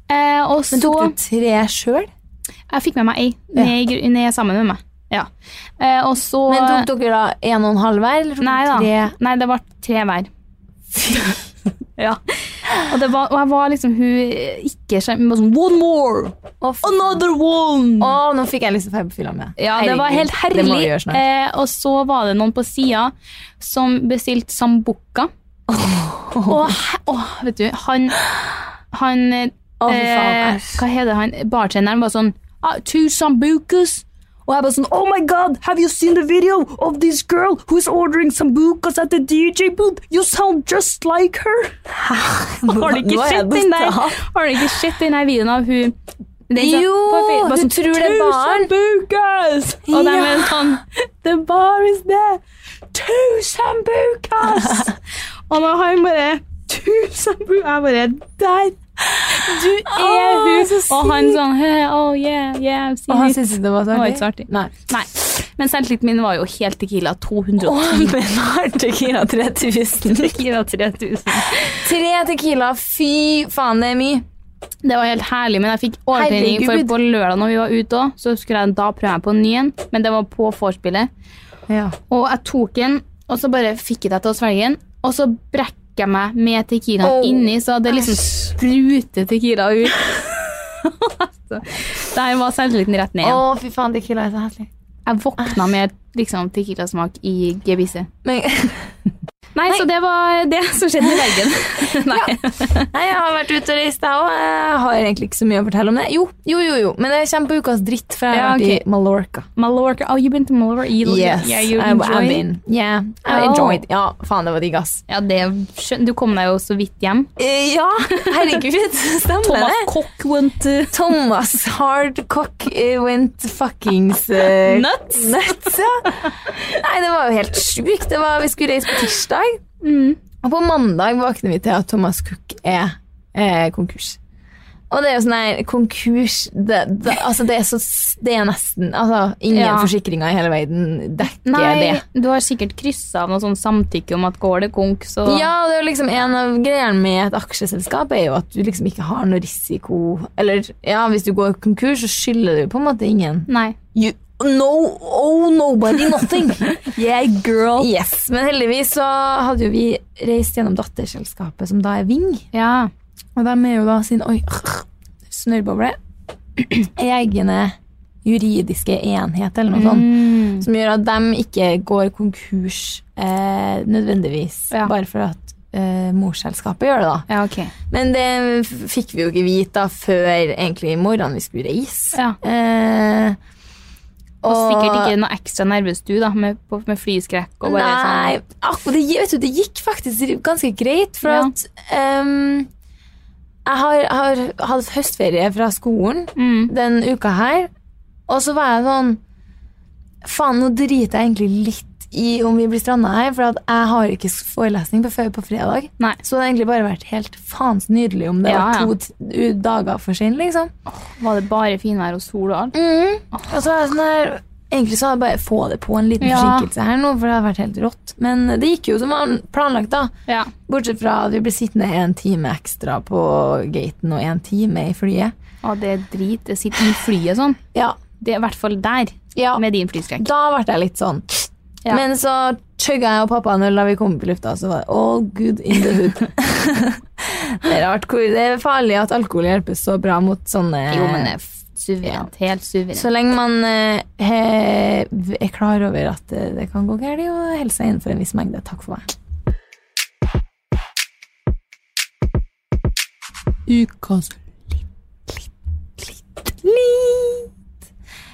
Speaker 4: Eh, og så
Speaker 3: Men tok du tre sjøl?
Speaker 4: Jeg fikk med meg ei ned, i gru- ned sammen med meg. Ja. Eh, og så
Speaker 3: Men tok dere da en og en halv hver? Eller tok
Speaker 4: Nei da.
Speaker 3: dere tre?
Speaker 4: Nei, det ble tre hver. ja. Og, det var, og jeg var liksom hun ikke skjerm, men bare sånn One more!
Speaker 3: Å, f-
Speaker 4: Another one!
Speaker 3: Å, nå fikk jeg lyst til å feire på fylla med deg.
Speaker 4: ja, det var helt herlig.
Speaker 3: Det må vi gjøre snart.
Speaker 4: Eh, og så var det noen på sida som bestilte sambuca. Og, he- åh, vet du, han Han eh,
Speaker 3: Å, fy faen,
Speaker 4: eh,
Speaker 3: æsj.
Speaker 4: Hva heter han? Bartenderen var sånn ah, Two sambucas. Og jeg bare sånn Oh my god, have you seen the video of this girl who's ordering sambucas at the DJ booth? You sound just like her. Har du
Speaker 3: Nå
Speaker 4: ikke
Speaker 3: er jeg
Speaker 4: sett den der
Speaker 3: datt av.
Speaker 4: Har du ikke sett den der videoen av hun Det er sånn-
Speaker 3: Jo,
Speaker 4: på Facebook, bare
Speaker 3: du tror det er barn.
Speaker 4: Tusen bukas! Og de
Speaker 3: Ja.
Speaker 4: er sånn The bar is there. Tusen bukas! Og nå har hun bare Tusen bukas! Jeg bare Der! Du er
Speaker 3: Åh,
Speaker 4: hun!
Speaker 3: så
Speaker 4: Og han sånn «Hø, Oh yeah, yeah, I've seen
Speaker 3: Og han
Speaker 4: it».
Speaker 3: syntes ikke det var så
Speaker 4: Det var
Speaker 3: artig?
Speaker 4: ikke så artig.
Speaker 3: Nei.
Speaker 4: Nei. Men selvtilliten min var jo helt Tequila 210.
Speaker 3: men var Tequila 3000?
Speaker 4: Tequila 3000.
Speaker 3: Tre Tequila, fy faen, det er mye.
Speaker 4: Det var helt herlig, men jeg fikk overtenning for
Speaker 3: Herregud.
Speaker 4: på lørdag når vi var ute òg, så skulle jeg da prøve meg på en ny en, men det var på vorspielet.
Speaker 3: Ja.
Speaker 4: Og jeg tok en, og så bare fikk jeg det til å svelge den, og så brekker jeg meg med tequilaen
Speaker 3: Åh,
Speaker 4: inni, så det liksom spruter tequila ut. Så Der var selvtilliten rett ned
Speaker 3: Å,
Speaker 4: igjen.
Speaker 3: fy faen, Tequila er så herlig.
Speaker 4: Jeg våkna med liksom tequilasmak i gebisset.
Speaker 3: Men,
Speaker 4: Nei, så det var det som skjedde i veggen. Nei.
Speaker 3: nei, jeg har vært ute og reist, jeg òg. Jeg har egentlig ikke så mye å fortelle om det. Jo, jo, jo, jo. men det kommer på ukas dritt, for jeg har
Speaker 4: Ja,
Speaker 3: vært
Speaker 4: ok.
Speaker 3: i Mallorca.
Speaker 4: Mallorca. Oh, you've been to Mallorca? You, Yeah, you
Speaker 3: I- I've
Speaker 4: enjoy it?
Speaker 3: been. Yeah, I
Speaker 4: Oh.
Speaker 3: enjoyed. Ja, faen, det var digg, ass.
Speaker 4: Ja, det skjøn- Du kom deg jo så vidt hjem.
Speaker 3: Eh, ja, herregud, stemmer det?
Speaker 4: Koch went to
Speaker 3: Thomas Hardcock eh, went fuckings eh,
Speaker 4: Nuts.
Speaker 3: nuts, ja. Nei, det var jo helt sjukt. Det var, vi skulle reise på tirsdag, og på mandag våkner vi til at Thomas Cook er eh, konkurs. Og det er jo sånn her konkurs det, det, altså det, er så, s- det er nesten altså, Ingen
Speaker 4: Ja.
Speaker 3: forsikringer i hele verden dekker det.
Speaker 4: Nei, du har sikkert kryssa av noe sånn samtykke om at går det konk, så
Speaker 3: Ja, det er jo liksom en av greiene med et aksjeselskap er jo at du liksom ikke har noe risiko. Eller ja, hvis du går konkurs, så skylder du på en måte ingen.
Speaker 4: Nei.
Speaker 3: You, no, oh, nobody, nothing. yeah, girl. Yes, Men heldigvis så hadde jo vi reist gjennom datterselskapet, som da er Ving.
Speaker 4: Ja.
Speaker 3: Og de er jo da sin Oi, snørrboble. Egne juridiske enhet, eller noe sånt. Som gjør at de ikke går konkurs eh, nødvendigvis,
Speaker 4: Ja.
Speaker 3: bare for at eh, morselskapet gjør det, da.
Speaker 4: Ja, ok.
Speaker 3: Men det f- fikk vi jo ikke vite da før egentlig i morgen vi skulle reise.
Speaker 4: Ja.
Speaker 3: Eh,
Speaker 4: Og sikkert ikke noe ekstra nervøs du, da, med, på- med flyskrekk og bare sånn-
Speaker 3: Nei, akkurat det, gi- vet du, det gikk faktisk ganske greit, for
Speaker 4: Ja.
Speaker 3: at ehm, jeg har, har hatt høstferie fra skolen
Speaker 4: sånn mm.
Speaker 3: den uka her, og så var jeg sånn Faen, nå driter jeg egentlig litt i om vi blir stranda her, for at jeg har ikke s- forelesning på før på fredag.
Speaker 4: Nei.
Speaker 3: Så det hadde egentlig bare vært helt faens nydelig om det
Speaker 4: Ja, ja.
Speaker 3: var to t- u- dager for sent, liksom.
Speaker 4: Var det bare finvær og sol og alt?
Speaker 3: Mhm. Og så er jeg sånn her Egentlig så hadde jeg bare få det på en liten
Speaker 4: Ja.
Speaker 3: forsinkelse her nå, for det hadde vært helt rått. Men det gikk jo som an- planlagt, da.
Speaker 4: Ja.
Speaker 3: Bortsett fra at vi ble sittende en time ekstra på gaten og en time i flyet.
Speaker 4: Og det er drit. Det sitter i flyet sånn.
Speaker 3: Ja.
Speaker 4: Det er i hvert fall der,
Speaker 3: ja.
Speaker 4: med din flyskrekk.
Speaker 3: Da ble jeg litt sånn.
Speaker 4: Ja.
Speaker 3: Men så chugga jeg og pappa en øl da vi kom på lufta, så var det all good in the hood. det er rart hvor det er farlig at alkohol hjelper så bra mot sånne
Speaker 4: Jo, men det er f- suverent. Helt suverent.
Speaker 3: Så lenge man eh, he, er klar over at eh, det kan gå galt, og holder seg innenfor en viss mengde. Takk for meg. Ukas litt, litt, litt.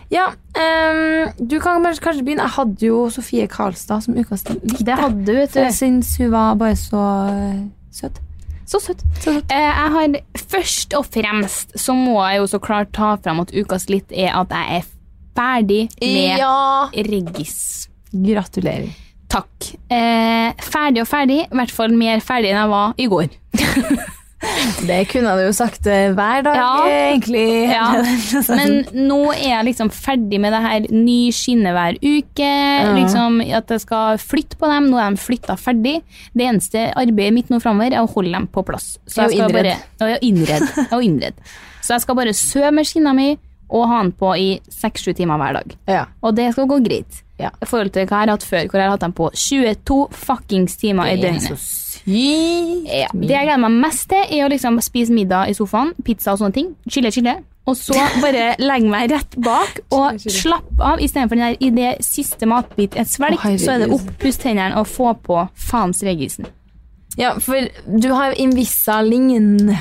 Speaker 3: Ja, em, du kan kanskje, kanskje begynne. Jeg hadde jo Sofie Karlstad som ukas litt.
Speaker 4: det hadde du, vet
Speaker 3: For jeg
Speaker 4: du.
Speaker 3: syns hun var bare så eh, søt.
Speaker 4: Så søtt. Eh, jeg har først og fremst så må jeg jo så klart ta frem at ukas litt er at jeg er ferdig med
Speaker 3: Ja.
Speaker 4: Regis.
Speaker 3: Gratulerer.
Speaker 4: Takk. Eh, ferdig og ferdig. I hvert fall mer ferdig enn jeg var i går.
Speaker 3: Det kunne du jo sagt eh, hver dag,
Speaker 4: Ja.
Speaker 3: eh, egentlig.
Speaker 4: Ja.
Speaker 3: Men
Speaker 4: Men nå er jeg liksom ferdig med det her ny skinne hver uke. Liksom At jeg skal flytte på dem. Nå er de flytta ferdig. Det eneste arbeidet mitt nå framover er å holde dem på plass. Så jeg
Speaker 3: Og
Speaker 4: skal bare
Speaker 3: innredd.
Speaker 4: Ja, ja, innredd. Ja, og innredd. Så jeg skal bare sø med skinna mi og ha den på i seks-sju timer hver dag.
Speaker 3: ja.
Speaker 4: Og det skal gå greit.
Speaker 3: Ja.
Speaker 4: I forhold til hva jeg har hatt før, hvor jeg har hatt dem på 22 fuckings timer i døgnet.
Speaker 3: sykt
Speaker 4: Ja, Eh, det jeg gleder meg mest til, er å liksom spise middag i sofaen, pizza og sånne ting. Chille, chille. Og så bare legge meg rett bak og slappe av istedenfor den der i det siste matbit et svelg,
Speaker 3: Å, herregud.
Speaker 4: så er det opp, pusse tennene og få på faens regisen.
Speaker 3: Ja, for du har Invisa lignende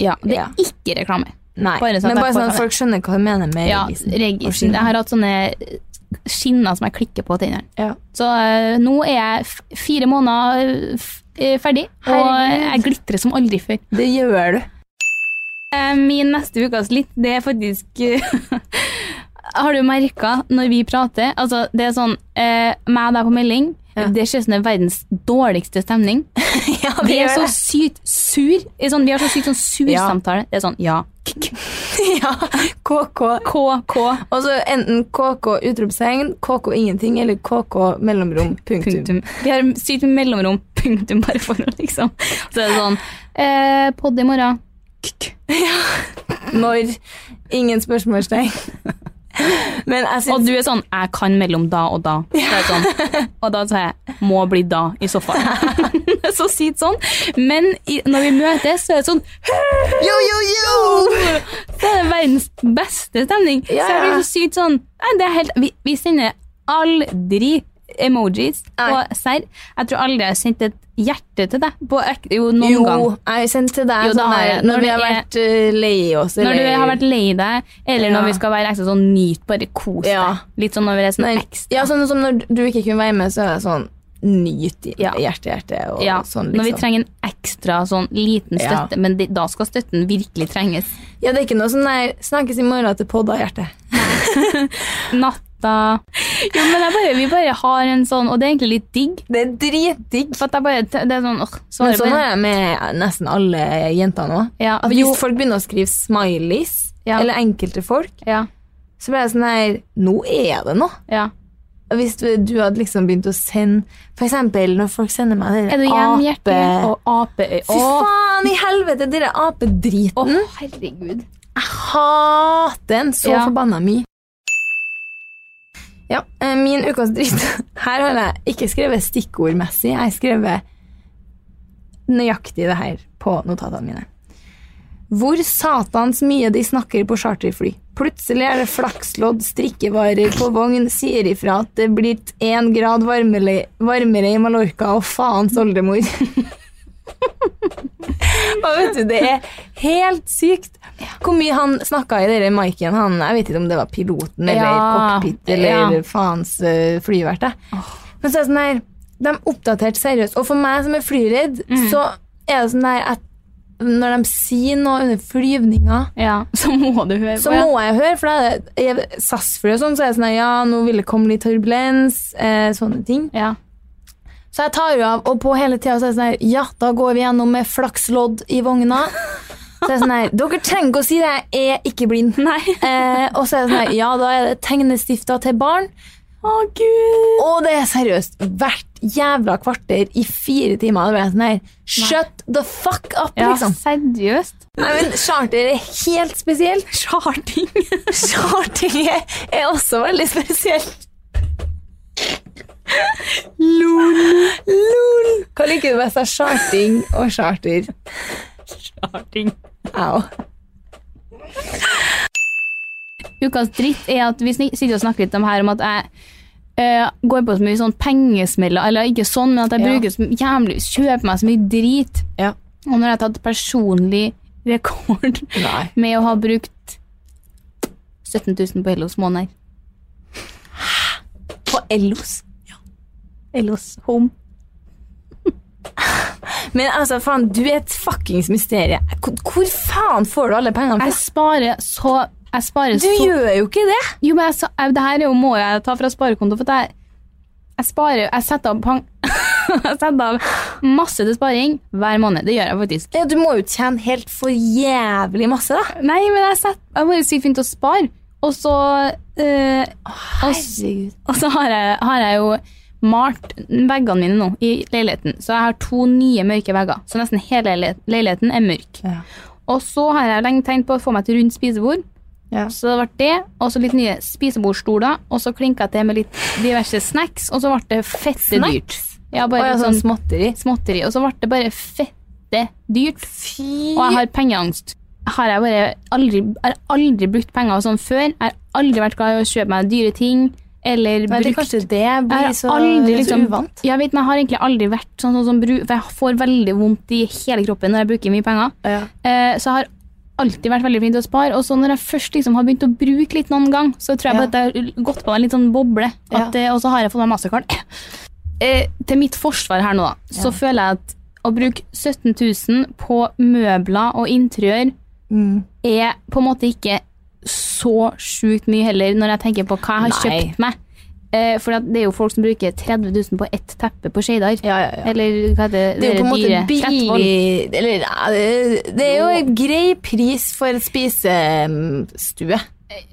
Speaker 4: Ja, det
Speaker 3: Ja.
Speaker 4: er ikke reklame.
Speaker 3: Nei,
Speaker 4: Bare sånn
Speaker 3: men
Speaker 4: at
Speaker 3: bare
Speaker 4: jeg får
Speaker 3: sånn at
Speaker 4: ta
Speaker 3: folk skjønner hva du mener med
Speaker 4: Ja,
Speaker 3: regisen. Og
Speaker 4: regisen.
Speaker 3: skinner.
Speaker 4: Jeg har hatt sånne eh, skinner som jeg klikker på tennene.
Speaker 3: Ja.
Speaker 4: Så eh, nå er jeg f fire måneder eh, f eh, ferdig, og
Speaker 3: Herregud.
Speaker 4: jeg glitrer som aldri før.
Speaker 3: Det gjør du.
Speaker 4: Eh, Min neste ukas litt, det er faktisk eh, Har du merka når vi prater Altså, det er sånn eh, Meg og deg på melding, det ser ut som det er verdens dårligste stemning.
Speaker 3: Ja,
Speaker 4: Vi er så sykt sur. Det er Sånn, vi har så sykt sånn sur
Speaker 3: Ja.
Speaker 4: samtale. Det er sånn ja.
Speaker 3: ja, KK.
Speaker 4: KK.
Speaker 3: Og så enten KK utropstegn, KK ingenting, eller KK mellomrom, punktum.
Speaker 4: Punktum. Vi har sykt mye mellomrom. Punktum, bare for å liksom Så er det sånn eh, Podd i morgen.
Speaker 3: Når ingen spørsmålstegn. Men jeg
Speaker 4: Og
Speaker 3: syns
Speaker 4: du er sånn 'jeg kan mellom da og da'. Så er det sånn, og da sier jeg 'må bli da' i sofaen. så sykt sånn. Men i, når vi møtes, så er det sånn
Speaker 3: Yo, yo, yo!
Speaker 4: Så er det verdens beste stemning.
Speaker 3: Ja,
Speaker 4: Så jeg
Speaker 3: ja.
Speaker 4: blir så sykt sånn nei, det er helt, vi, vi sender aldri emojis på
Speaker 3: Nei.
Speaker 4: serr. Jeg tror aldri jeg har sendt et hjerte til deg. På, ek- jo, noen
Speaker 3: Jo,
Speaker 4: gang.
Speaker 3: jeg sendte til deg
Speaker 4: Jo, da
Speaker 3: sånn
Speaker 4: har
Speaker 3: der,
Speaker 4: jeg-
Speaker 3: når,
Speaker 4: når
Speaker 3: vi har
Speaker 4: det er-
Speaker 3: vært eh, lei oss,
Speaker 4: Når du har vært lei deg, eller
Speaker 3: Ja.
Speaker 4: når vi skal være ekstra sånn nyt, bare kos deg.
Speaker 3: Ja.
Speaker 4: Litt sånn når vi er sånn
Speaker 3: Nei,
Speaker 4: ekstra.
Speaker 3: ja, sånn som når du ikke kunne være med, så er det sånn nyt i
Speaker 4: Ja.
Speaker 3: hjerte, hjerte og
Speaker 4: ja,
Speaker 3: sånn,
Speaker 4: Når vi
Speaker 3: liksom.
Speaker 4: trenger en ekstra sånn liten
Speaker 3: Ja.
Speaker 4: støtte, men det, da skal støtten virkelig trenges.
Speaker 3: Ja, det er ikke noe sånn der snakkes i morgen til podda hjerte.
Speaker 4: Natta Jo, men jeg bare, vi bare har en sånn, og det er egentlig litt digg.
Speaker 3: Det er dritdigg.
Speaker 4: For at jeg bare, det er sånn, åh,
Speaker 3: Men
Speaker 4: svarer
Speaker 3: sånn
Speaker 4: bare.
Speaker 3: er det med nesten alle jentene òg.
Speaker 4: Ja,
Speaker 3: At
Speaker 4: jo,
Speaker 3: hvis folk begynner å skrive smileys,
Speaker 4: Ja.
Speaker 3: eller enkelte folk,
Speaker 4: ja,
Speaker 3: så blir jeg sånn her Nå er det noe!
Speaker 4: ja.
Speaker 3: Og Hvis du, du hadde liksom begynt å sende For eksempel når folk sender meg dere
Speaker 4: Er du igjen hjerte og apeøy?
Speaker 3: Fy
Speaker 4: Åh,
Speaker 3: faen i helvete, dere apedriten!
Speaker 4: åh, herregud.
Speaker 3: hater den så
Speaker 4: Ja.
Speaker 3: forbanna mye. Ja, eh, min ukas dritt. Her har jeg ikke skrevet stikkordmessig. Jeg har skrevet nøyaktig det her på notatene mine. Hvor satans mye de snakker på charterfly. Plutselig er det flakslodd, strikkevarer på vogn, sier ifra at det er blitt én grad varmere, varmere i Mallorca, og faens oldemor. og vet du, det er helt sykt hvor mye han snakka i den maiken. Han, jeg vet ikke om det var piloten eller
Speaker 4: Ja,
Speaker 3: cockpit eller
Speaker 4: ja.
Speaker 3: faens eh, flyvert. jeg. Men så er det sånn her De oppdaterte seriøst. Og for meg som er flyredd,
Speaker 4: Mm.
Speaker 3: så er det sånn der at når de sier noe under flyvninga
Speaker 4: Ja, så må du høre
Speaker 3: så
Speaker 4: på. ja.
Speaker 3: må jeg høre, for da er det er SAS-fly og sånn, så er jeg sånn her, Ja, nå vil det komme litt turbulens. Eh, sånne ting.
Speaker 4: Ja.
Speaker 3: Så jeg tar jo av og på hele tida, så er jeg sånn her Ja, da går vi gjennom med flakslodd i vogna. Så er jeg sånn her Dere trenger ikke å si det, jeg er ikke blind.
Speaker 4: Nei.
Speaker 3: Eh, og så er det sånn her Ja, da er det tegnestifter til barn.
Speaker 4: Å, gud!
Speaker 3: Og det er seriøst. Hvert jævla kvarter i fire timer. Da blir jeg sånn her Shut the fuck up,
Speaker 4: Ja,
Speaker 3: liksom.
Speaker 4: seriøst?
Speaker 3: Nei, men Charter er helt spesielt.
Speaker 4: Charting?
Speaker 3: Charting er, er også veldig spesielt. Lol. Hva liker du best av charting og charter?
Speaker 4: Charting.
Speaker 3: Au.
Speaker 4: Ukas dritt er at vi sni- sitter og snakker litt om her om at jeg eh, går på så mye sånn pengesmeller, eller ikke sånn, men at jeg
Speaker 3: Ja.
Speaker 4: bruker så jævlig, kjøper meg så mye drit.
Speaker 3: Ja.
Speaker 4: Og når jeg har tatt personlig rekord
Speaker 3: Nei.
Speaker 4: med å ha brukt 17 000 på Hellos måneder.
Speaker 3: På Ellos.
Speaker 4: Hellos Home.
Speaker 3: Men altså, faen, du er et fuckings mysterium. Hvor, hvor faen får du alle pengene
Speaker 4: Jeg
Speaker 3: fra?
Speaker 4: sparer så jeg sparer
Speaker 3: Du
Speaker 4: så,
Speaker 3: gjør jo ikke det.
Speaker 4: Jo, men jeg, sa- jeg, det her er jo, må jeg ta fra sparekonto, for at jeg, jeg sparer Jeg setter av, pang, jeg setter av masse til sparing hver måned. Det gjør jeg faktisk.
Speaker 3: Ja, du må jo tjene helt for jævlig masse, da.
Speaker 4: Nei, men jeg, sett, jeg er bare sykt flink til å spare. Og så, eh, og, s-
Speaker 3: Herregud.
Speaker 4: og så har, jeg, har jeg jo malt veggene mine nå i leiligheten. Så jeg har to nye mørke vegger. Så nesten hele leil- leiligheten er mørk.
Speaker 3: Ja.
Speaker 4: Og så har jeg lenge tenkt på å få meg et rundt spisebord.
Speaker 3: Ja.
Speaker 4: Så det ble det, og så litt nye spisebordstoler. Og så klinka jeg til med litt diverse snacks, og så ble det fette dyrt. Ja,
Speaker 3: Og
Speaker 4: bare
Speaker 3: jeg
Speaker 4: litt
Speaker 3: har sånn småtteri.
Speaker 4: sånn småtteri. Og så ble det bare fette dyrt.
Speaker 3: Fy
Speaker 4: Og jeg har pengeangst. Har jeg bare aldri, har aldri brukt penger og sånn før. Jeg har aldri vært glad i å kjøpe meg dyre ting.
Speaker 3: Nei,
Speaker 4: Eller
Speaker 3: det er
Speaker 4: brukt
Speaker 3: kanskje det
Speaker 4: Jeg
Speaker 3: blir
Speaker 4: har
Speaker 3: så,
Speaker 4: aldri,
Speaker 3: så
Speaker 4: liksom,
Speaker 3: uvant.
Speaker 4: Jeg vet, men jeg har egentlig aldri vært sånn, sånn som bru, For jeg får veldig vondt i hele kroppen når jeg bruker mye penger.
Speaker 3: Ja.
Speaker 4: Eh, så jeg har alltid vært veldig flink til å spare. Og så når jeg først liksom har begynt å bruke litt noen gang, så tror
Speaker 3: Ja.
Speaker 4: jeg bare at jeg har gått på en litt sånn boble. At, eh, Og så har jeg fått meg mastercard. Eh, til mitt forsvar her nå, da, så føler jeg at å bruke 17 000 på møbler og interiør
Speaker 3: Mm.
Speaker 4: er på en måte ikke så sjukt mye heller, når jeg tenker på hva jeg har
Speaker 3: Nei.
Speaker 4: kjøpt meg. Eh, for at det er jo folk som bruker 30 000 på ett teppe på Skeidar.
Speaker 3: Ja, ja, ja.
Speaker 4: Eller hva heter det?
Speaker 3: Det er jo på en måte
Speaker 4: dyre- Slettvoll.
Speaker 3: billig Eller ja, det, det er jo en grei pris for et spisestue.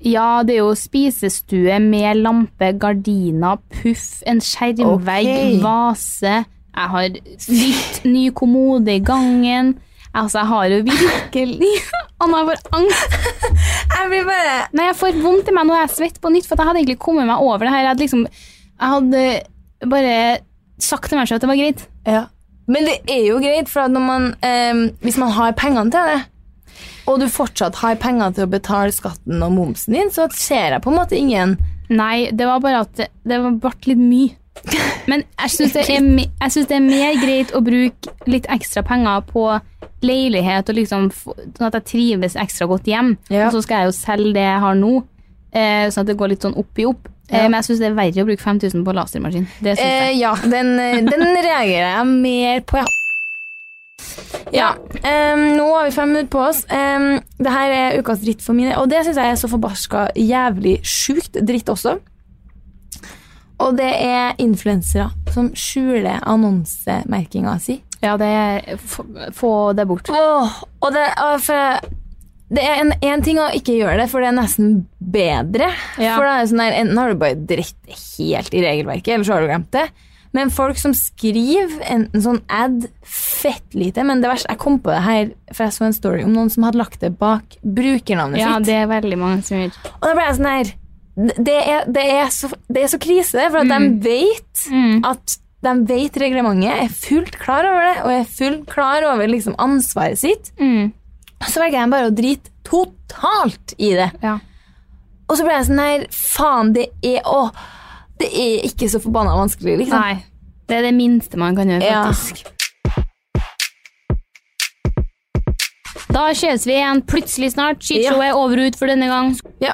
Speaker 4: Ja, det er jo spisestue med lampe, gardiner, puff, en skjermvegg,
Speaker 3: Ok.
Speaker 4: vase. Jeg har nytt, ny kommode i gangen. Altså, jeg har jo virkelig Anna, jeg får angst.
Speaker 3: Jeg blir bare
Speaker 4: Nei, jeg får vondt i meg når jeg svetter på nytt, for at jeg hadde egentlig kommet meg over det her. Jeg hadde liksom Jeg hadde bare sagt til meg selv at det var greit.
Speaker 3: ja. Men det er jo greit, for at når man, eh, hvis man har pengene til det, og du fortsatt har penger til å betale skatten og momsen din, så ser jeg på en måte ingen
Speaker 4: Nei, det var bare at det- det var- ble litt mye. Men jeg syns det, er me- jeg synes det er mer greit å bruke litt ekstra penger på leilighet, og liksom, få- sånn at jeg trives ekstra godt hjem.
Speaker 3: Ja.
Speaker 4: Og så skal jeg jo selge det jeg har nå, eh, sånn at det går litt sånn opp i opp. Eh, Men jeg syns det er verre å bruke 5000 på lasermaskin. Det synes
Speaker 3: Eh,
Speaker 4: jeg.
Speaker 3: Ja, den, eh, den reagerer jeg mer på, ja. Ja, em, nå har vi fem minutter på oss. Um, det her er ukas dritt for mine, og det syns jeg er så forbarska jævlig sjukt dritt også. Og det er influensere som skjuler annonsemerkinga si.
Speaker 4: Ja, det er få- Få det bort.
Speaker 3: Åh, og det, og for, det er en, en ting å ikke gjøre det, for det er nesten bedre.
Speaker 4: Ja.
Speaker 3: For det er sånn der, Enten har du bare dritt helt i regelverket, eller så har du glemt det. Men folk som skriver enten sånn ad fett lite Men det verste, jeg kom på det her, for jeg så en story om noen som hadde lagt det bak brukernavnet
Speaker 4: Ja,
Speaker 3: sitt.
Speaker 4: det er veldig mange som gjør.
Speaker 3: Og da ble jeg sånn her Det er, det er, så, det er så krise, for at
Speaker 4: Mm.
Speaker 3: de vet at de vet reglementet, er fullt klar over det, og er fullt klar over liksom ansvaret sitt.
Speaker 4: Mm.
Speaker 3: Så velger jeg bare å drite totalt i det.
Speaker 4: Ja.
Speaker 3: Og så ble jeg sånn Nei, faen, det er Å, det er ikke så forbanna vanskelig, liksom.
Speaker 4: Nei. Det er det minste man kan gjøre,
Speaker 3: Ja.
Speaker 4: faktisk. Da ses vi igjen plutselig snart. Skishowet er over og ut for denne gang.
Speaker 3: Ja.